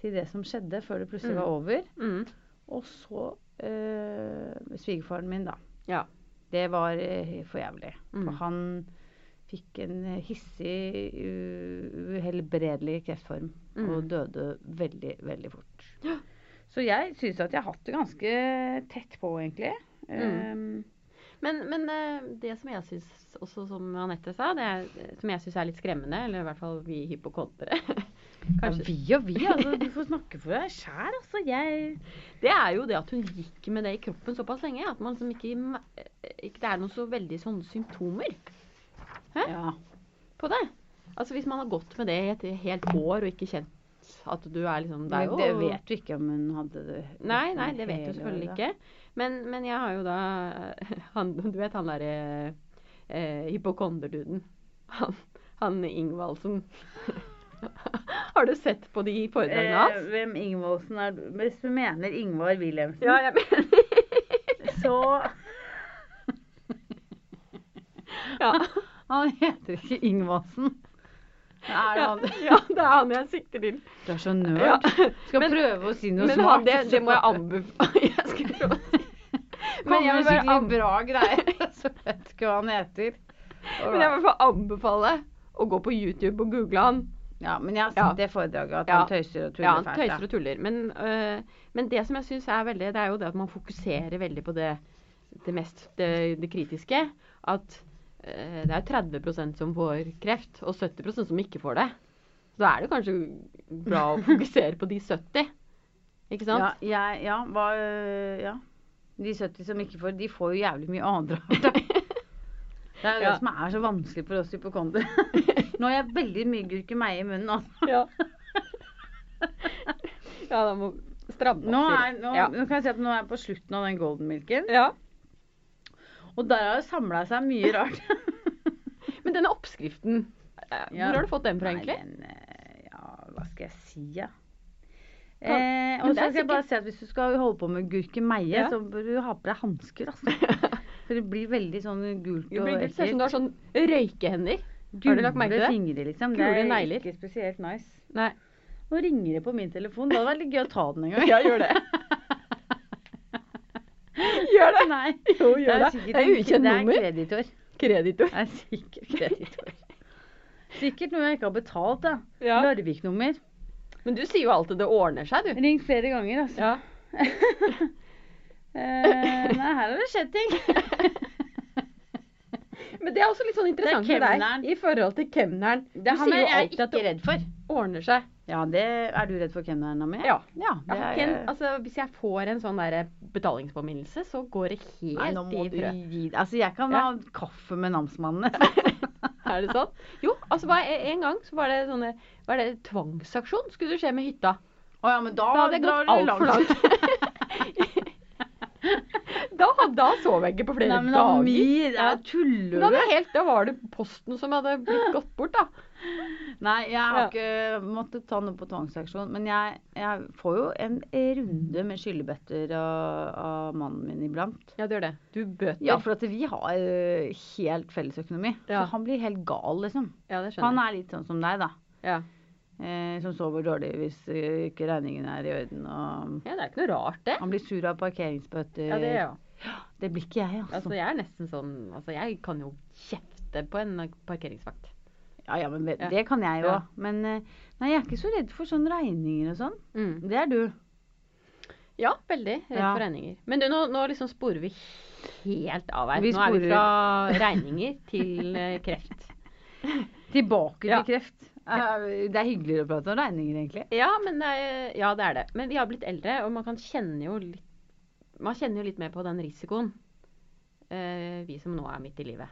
S1: til det som skjedde, før det plutselig
S2: Mm.
S1: var over.
S2: Mm.
S1: Og så eh, svigerfaren min, da.
S2: Ja.
S1: Det var eh, for jævlig.
S2: Mm.
S1: For han fikk en eh, hissig, u- uhelbredelig kreftform
S2: Mm.
S1: og døde veldig, veldig fort.
S2: Ja.
S1: Så jeg syns at jeg har hatt det ganske tett på, egentlig.
S2: Mm.
S1: Eh,
S2: Men, men eh, det som jeg syns også, som Anette sa, det er, som jeg syns er litt skremmende, eller i hvert fall vi hypokondere
S1: Ja,
S2: Kanskje.
S1: vi og vi, altså. Du får snakke for deg sjæl, altså. Jeg
S2: Det er jo det at hun gikk med det i kroppen såpass lenge at man liksom ikke, me- ikke Det er noen så veldig sånne symptomer Hæ?
S1: Ja.
S2: på det. Altså hvis man har gått med det i et helt år og ikke kjent at du er liksom
S1: Det,
S2: jo-
S1: det vet du ikke om hun hadde det.
S2: Nei, nei, det vet du selvfølgelig
S1: hele-
S2: ikke. Men, men jeg har jo da han, Du vet han derre eh, hypokonderduden. Han, han Ingvaldsen. har du sett på de foredragene
S1: Eh,
S2: hans?
S1: hvem Ingvaldsen er Hvis du mener Ingvar Wilhelmsen,
S2: Ja, jeg mener
S1: så
S2: ja.
S1: Han heter ikke Ingvaldsen. Er det
S2: Ja,
S1: han?
S2: ja, det er han jeg sikter til.
S1: Du er så nerd.
S2: Ja.
S1: Skal
S2: Men-
S1: prøve å si noe sånn
S2: Men
S1: smart.
S2: han, det, det må jeg anbefale. Jeg skulle prøve å si- Men jeg vil bare
S1: skikkelig
S2: anbefale
S1: bra greier. Så vet du ikke hva han heter.
S2: Men jeg vil bare anbefale å gå på YouTube og google han.
S1: Ja, men jeg har sett
S2: Ja.
S1: det foredraget at
S2: Ja.
S1: han tøyser og tuller
S2: Ja, han
S1: fælt.
S2: tøyser og tuller. Men, øh, men det som jeg syns er veldig, det er jo det at man fokuserer veldig på det, det mest det, det kritiske. At øh, det er 30 som får kreft, og 70 som ikke får det. Så da er det kanskje bra å fokusere på de 70. Ikke sant?
S1: Ja, jeg, ja, hva, øh, ja. De 70 som ikke får, de får jo jævlig mye andre arter. Det er jo
S2: Ja.
S1: det som er så vanskelig for oss hypokondere. Nå har jeg veldig mye gurkemeie i munnen. Altså.
S2: Ja. ja, da må stramme
S1: Nå,
S2: opp.
S1: er, nå,
S2: Ja.
S1: nå kan jeg si at nå er jeg på slutten av den golden milken.
S2: Ja.
S1: Og der har det samla seg mye rart.
S2: Men denne oppskriften, eh,
S1: Ja.
S2: hvor har du fått den fra,
S1: Nei,
S2: egentlig?
S1: den, eh, ja, hva skal jeg si, ja.
S2: Kan-
S1: Eh,
S2: Men
S1: og
S2: det
S1: så
S2: er
S1: skal jeg bare
S2: sikkert-
S1: si at hvis du skal holde på med gurkemeie,
S2: Ja.
S1: så bør du ha på deg hansker. Altså. For det blir veldig sånn gult
S2: Det
S1: og
S2: blir- det ser
S1: ekkelt.
S2: ut som du har sånn røykehender. Har du
S1: Gule
S2: lagt merke til det?
S1: fingre, liksom.
S2: Gule
S1: det er
S2: negler.
S1: ikke spesielt nice.
S2: Nei.
S1: Nå ringer det på min telefon. Det hadde vært litt gøy å ta den en gang.
S2: Ja, gjør det. Gjør det!
S1: Nei.
S2: Jo, gjør det.
S1: sikkert
S2: Det er
S1: en- Det
S2: ukjent nummer.
S1: er kreditor.
S2: Kreditor.
S1: Det er sikkert kreditor. Sikkert noe jeg ikke har betalt, da.
S2: Ja.
S1: Larvik-nummer.
S2: Men du sier jo alltid 'det ordner seg', du.
S1: Ring flere ganger, altså.
S2: Ja.
S1: Eh, nei, her har det skjedd ting.
S2: Men det er også litt sånn interessant
S1: Det er
S2: for
S1: kemneren.
S2: deg i forhold til kemneren. Du
S1: Det
S2: sier jo alltid at det
S1: redd for.
S2: ordner seg.
S1: Ja, det Er du redd for kemneren mi?
S2: Ja.
S1: ja
S2: Jeg
S1: det
S2: har
S1: er,
S2: ikke en, altså, hvis jeg får en sånn der betalingspåminnelse, så går det helt
S1: Nei, nå må
S2: i
S1: du
S2: frø.
S1: gi deg. Altså, jeg kan
S2: Ja.
S1: ha kaffe med namsmannene.
S2: Er det sånn? Jo, altså bare en gang så var det sånne var det tvangsaksjon skulle skje med hytta.
S1: Å ja, men da,
S2: Ah, Da hadde jeg
S1: drar
S2: gått
S1: du
S2: altfor langt. da, had- da sov jeg ikke på flere
S1: Nei, men
S2: dager.
S1: Amir,
S2: Ja.
S1: jeg tuller
S2: Men da,
S1: du?
S2: hadde jeg helt, da var det posten som hadde blitt gått bort, da.
S1: Nei, jeg har
S2: Ja.
S1: ikke måttet ta noe på tvangsaksjon. Men jeg, jeg får jo en runde med skyllebøtter av, av mannen min iblant.
S2: Ja, du gjør det. Du bøter.
S1: Ja, for at vi har øh, helt felles økonomi.
S2: Ja.
S1: Så han blir helt gal, liksom.
S2: Ja, det
S1: Han
S2: skjønner jeg.
S1: er litt sånn som deg, da.
S2: Ja.
S1: Eh, som sover dårlig hvis eh, ikke regningen er i orden. Og
S2: ja, det er ikke noe rart, det.
S1: han blir sur av parkeringsbøter.
S2: Ja, det gjør jeg.
S1: Det blir ikke jeg, altså.
S2: Altså, jeg er nesten sånn Altså, jeg kan jo kjefte på en parkeringsvakt.
S1: ja, ja, men det,
S2: Ja.
S1: det kan jeg jo.
S2: Ja.
S1: Men eh, nei, jeg er ikke så redd for sånne regninger og sånn.
S2: Mm.
S1: Det er du.
S2: Ja, veldig. Redd
S1: Ja.
S2: for regninger. Men du, nå, nå liksom sporer vi helt av her.
S1: Vi
S2: Nå er
S1: sporer.
S2: vi fra regninger til eh, kreft.
S1: Tilbake
S2: Ja.
S1: til kreft. Eh, det er hyggeligere å prate om regninger, egentlig.
S2: Ja, men det er, ja, det er det. Men vi har blitt eldre, og man kan kjenne jo litt Man kjenner jo litt mer på den risikoen. eh, vi som nå er midt i livet.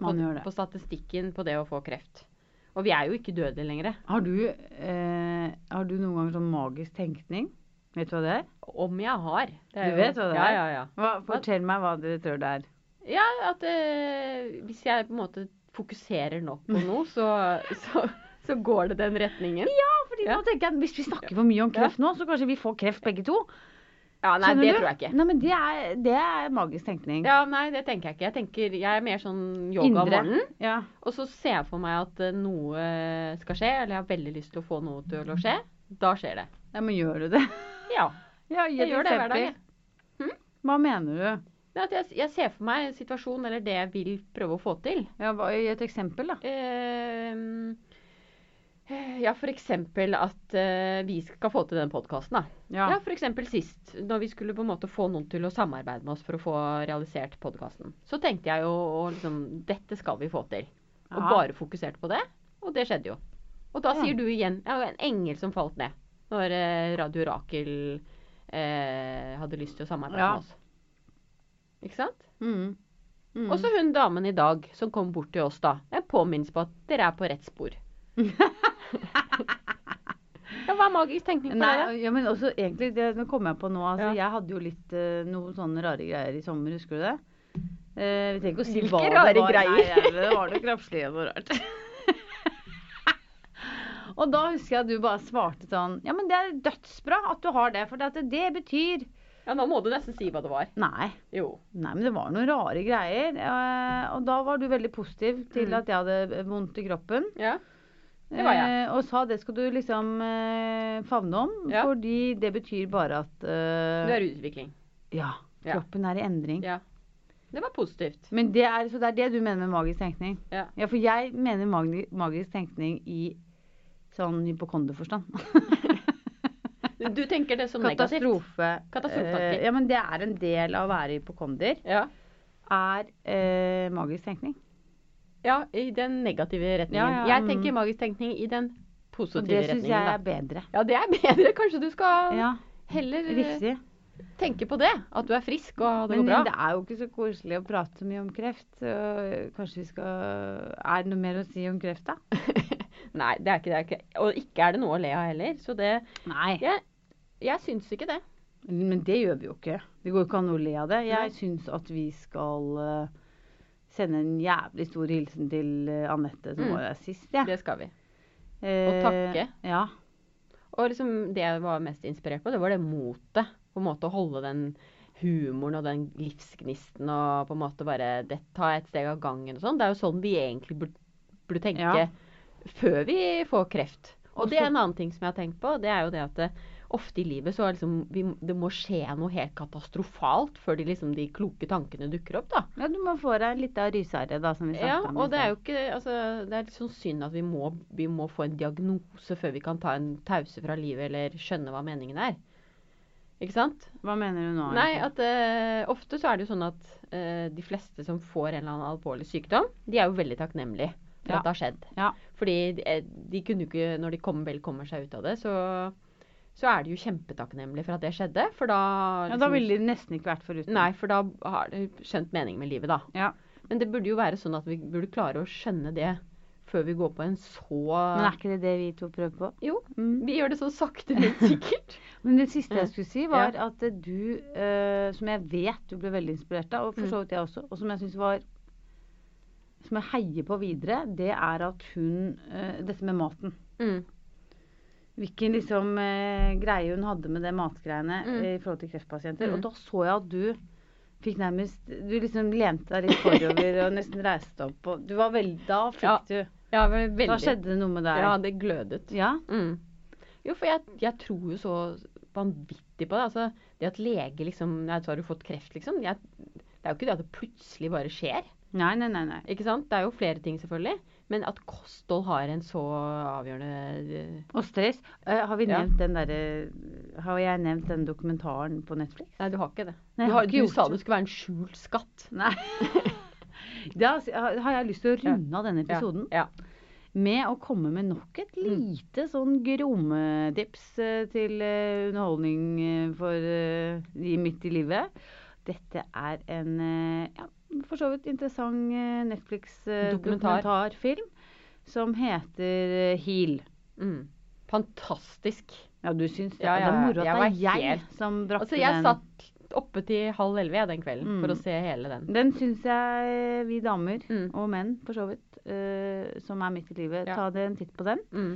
S1: Man
S2: på,
S1: gjør det.
S2: på statistikken på det å få kreft. Og vi er jo ikke dødelige lenger.
S1: Har du, eh, har du noen ganger sånn magisk tenkning? Vet du hva det er?
S2: Om jeg har. Det er
S1: Du
S2: jo-
S1: vet hva det
S2: ja,
S1: er?
S2: Ja, ja,
S1: Hva, fortell meg hva dere tror det er.
S2: ja. At eh, hvis jeg på en måte fokuserer nok på noe, så, så, så går det den retningen.
S1: Ja, fordi
S2: Ja.
S1: nå tenker jeg at Hvis vi snakker for mye om kreft nå, så kanskje vi får kreft begge to.
S2: Ja, nei,
S1: Skjønner
S2: det
S1: du?
S2: tror jeg ikke.
S1: Nei, men det er, det er magisk tenkning.
S2: Ja, nei, det tenker jeg ikke. Jeg tenker, jeg er mer sånn yoga om
S1: Indre.
S2: morgenen.
S1: Ja.
S2: Og så ser jeg for meg at eh, noe skal skje, eller jeg har veldig lyst til å få noe til å skje. Da skjer det.
S1: Ja, men gjør du det?
S2: Ja.
S1: Ja, gi
S2: Jeg
S1: et
S2: gjør det hver dag,
S1: eksempel.
S2: jeg. Hm?
S1: Hva mener du?
S2: Men at jeg, jeg ser for meg en situasjon eller det jeg vil prøve å få til.
S1: Ja, hva, gi et eksempel, da.
S2: Ehm, Ja, f.eks. at eh, vi skal få til den podkasten. da. Ja,
S1: Ja.
S2: for f.eks. sist, når vi skulle på en måte få noen til å samarbeide med oss for å få realisert podkasten. Så tenkte jeg jo og liksom, dette skal vi få til. Og
S1: Ja.
S2: bare fokusert på det. Og det skjedde jo. Og da
S1: Ja.
S2: sier du igjen ja, en engel som falt ned når eh, Radio Rakel eh, hadde lyst til å samarbeide
S1: Ja.
S2: med oss. Ikke sant?
S1: Mm. Mm.
S2: Og så hun damen i dag som kom bort til oss da. Jeg påminnes på at dere er på rett spor. ja, hva er magisk tenkning for dere?
S1: Nei, ja, men også egentlig, det, nå kom jeg på nå, altså,
S2: Ja.
S1: jeg hadde jo litt eh, noen sånne rare greier i sommer, husker du det? Eh, vi trenger ikke å si
S2: Hvilke
S1: hva det
S2: rare
S1: var.
S2: greier?
S1: Nei, jeg- det var noe krapslig og noe rart. og da husker jeg at du bare svarte sånn, ja, men det er dødsbra at du har det, for det, at det betyr...
S2: Ja, nå må du nesten si hva det var.
S1: Nei,
S2: Jo.
S1: nei, men det var noen rare greier, eh, og da var du veldig positiv til
S2: Mm.
S1: at jeg hadde vondt i kroppen.
S2: Ja. Det var jeg.
S1: Eh, og sa det skal du liksom eh, favne om,
S2: Ja.
S1: fordi det betyr bare at eh,
S2: Du er i utvikling.
S1: Ja.
S2: Ja.
S1: Kroppen er i endring.
S2: Ja. Det var positivt.
S1: Men det er, så det er det du mener med magisk tenkning?
S2: Ja.
S1: ja for jeg mener magi- magisk tenkning i sånn hypokonderforstand.
S2: Du tenker det som sånn negativt.
S1: Katastrofe.
S2: Katastrofetanker.
S1: Eh, ja, men det er en del av å være hypokonder.
S2: Ja.
S1: Er eh, magisk tenkning.
S2: ja, i den negative retningen.
S1: Ja, ja,
S2: Jeg
S1: mm.
S2: tenker magisk tenkning i den
S1: Og
S2: positive
S1: det syns jeg er
S2: retningen. Da.
S1: bedre.
S2: Ja, det er bedre. Kanskje du skal
S1: Ja,
S2: heller eh,
S1: riktig.
S2: tenke på det. At du er frisk og det
S1: Men
S2: går
S1: det
S2: bra.
S1: er jo ikke så koselig å prate så mye om kreft. Så øh, kanskje vi skal Er det noe mer å si om kreft, da?
S2: Nei, det er ikke det. Er ikke. Og ikke er det noe å le av heller. Så det
S1: Nei.
S2: Jeg, jeg syns ikke det.
S1: Men det gjør vi jo ikke. Det går jo ikke an å le av det.
S2: Nei.
S1: Jeg syns at vi skal eh, sende en jævlig stor hilsen til eh, Anette, som
S2: Mm.
S1: var der sist. Ja.
S2: Det skal vi.
S1: Eh,
S2: takke.
S1: Ja.
S2: Og liksom det jeg var mest inspirert på, det var det motet. På en måte å holde den humoren og den livsgnisten og på en måte bare det, ta et steg av gangen og sånn. Det er jo sånn vi egentlig burde, burde tenke
S1: Ja.
S2: før vi får kreft. Og
S1: Og
S2: det er
S1: så-
S2: en annen ting som jeg har tenkt på, det er jo det at det, ofte i livet så er liksom vi, Det må skje noe helt katastrofalt før de, liksom, de kloke tankene dukker opp, da.
S1: ja, du må få deg litt av rysherre, da, som vi snakket
S2: Ja,
S1: om. i
S2: og det er
S1: sted.
S2: jo ikke altså, Det er litt sånn synd at vi må, vi må få en diagnose før vi kan ta en pause fra livet eller skjønne hva meningen er. Ikke sant?
S1: Hva mener du nå?
S2: Nei,
S1: egentlig?
S2: at eh, ofte så er det jo sånn at eh, de fleste som får en eller annen alvorlig sykdom, de er jo veldig takknemlige for
S1: Ja.
S2: at det har skjedd.
S1: Ja.
S2: Fordi de, eh, de kunne jo ikke, når de kom, vel kommer seg ut av det, så, så er de jo kjempetakknemlige for at det skjedde. For da
S1: ja, da
S2: liksom-
S1: ville de nesten ikke vært foruten.
S2: Nei, for da har de skjønt meningen med livet, da.
S1: Ja.
S2: Men det burde jo være sånn at vi burde klare å skjønne det før vi går på en så
S1: Men er ikke det det vi to prøver på?
S2: Jo,
S1: Mm.
S2: vi gjør det så sakte, men sikkert.
S1: Men det siste
S2: Mm. Ja.
S1: jeg skulle si, var at eh, du, eh, som jeg vet du ble veldig inspirert av, og for
S2: Mm.
S1: så vidt jeg også, og som jeg syns var Som jeg heier på videre, det er at hun eh, Dette med maten.
S2: Mm.
S1: Hvilken liksom eh, greie hun hadde med det matgreiene
S2: Mm.
S1: eh, i forhold til kreftpasienter.
S2: Mm.
S1: Og da så jeg at du fikk nærmest Du liksom lente deg litt forover og nesten reiste opp og Du var veldig Da fikk
S2: Ja,
S1: du
S2: Ja, vel, veldig.
S1: Da skjedde det noe med deg.
S2: Ja, det glødet.
S1: Ja.
S2: Mm. Jo, for jeg, jeg tror jo så vanvittig på det. Altså, det at lege liksom Nei, så har du fått kreft, liksom. Jeg, det er jo ikke det at det plutselig bare skjer.
S1: Nei, nei, nei. nei.
S2: Ikke sant? Det er jo flere ting, selvfølgelig. Men at kosthold har en så avgjørende eh,
S1: Og stress. Eh, har vi
S2: Ja.
S1: nevnt den derre Har jeg nevnt den dokumentaren på Netflix?
S2: Nei, du har ikke det.
S1: Nei, jeg har
S2: du har,
S1: ikke
S2: du
S1: gjort
S2: sa
S1: det.
S2: det skulle være en skjult skatt.
S1: Nei. Da s- har har jeg lyst til å runde av denne episoden
S2: Ja. Mm.
S1: med å komme med nok et lite sånn grommetips eh, til eh, underholdning eh, for eh, de midt i livet. Dette er en eh, ja, for så vidt interessant eh,
S2: Dokumentar.
S1: Netflix-dokumentarfilm som heter eh, Heal.
S2: ja. Mm. Fantastisk.
S1: Ja, du syns det?
S2: Ja,
S1: det
S2: ja, ja.
S1: er moro at
S2: Jeg
S1: det
S2: var
S1: er jeg
S2: helt-
S1: som brakte
S2: Altså, jeg
S1: den.
S2: satt oppe til halv elleve jeg, den kvelden for å
S1: Mm.
S2: se hele den.
S1: Den syns jeg eh, vi damer,
S2: Mm.
S1: og menn for så vidt, eh, som er midt i livet,
S2: Ja.
S1: ta dere en titt på den.
S2: Mm.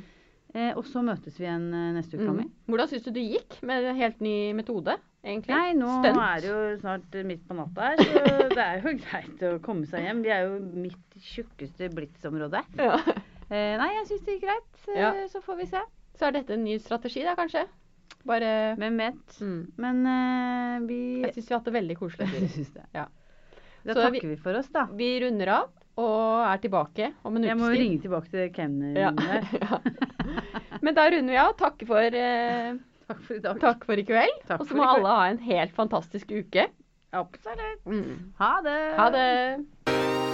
S1: Eh, og så møtes vi igjen eh, neste uke,
S2: Mm.
S1: Tommy.
S2: Hvordan syns du det gikk med en helt ny metode, egentlig?
S1: Nei, nå
S2: Stunt.
S1: er det jo snart eh, midt på natta her, så det er jo greit å komme seg hjem. Vi er jo midt i tjukkeste blitsområdet.
S2: ja.
S1: Eh, nei, jeg syns det gikk greit. Eh,
S2: Ja.
S1: Så får vi se.
S2: Så er dette en ny strategi, da, kanskje? Bare
S1: Hvem vet.
S2: mm.
S1: Men eh, vi
S2: Jeg syns vi har hatt det veldig koselig. Siri.
S1: syns det.
S2: Ja.
S1: Da
S2: Så vi-
S1: takker vi for oss, da.
S2: Vi runder av. og er tilbake om en
S1: Jeg må
S2: ukes
S1: jo
S2: tid.
S1: ringe tilbake til kemneren
S2: Ja.
S1: der.
S2: Ja. Men da runder vi av. Takker for, eh,
S1: Takk for i dag.
S2: takk for i kveld.
S1: Takk
S2: Og så
S1: for
S2: må
S1: i kveld.
S2: alle ha en helt fantastisk uke.
S1: Absolutt. Ha det.
S2: Ha det.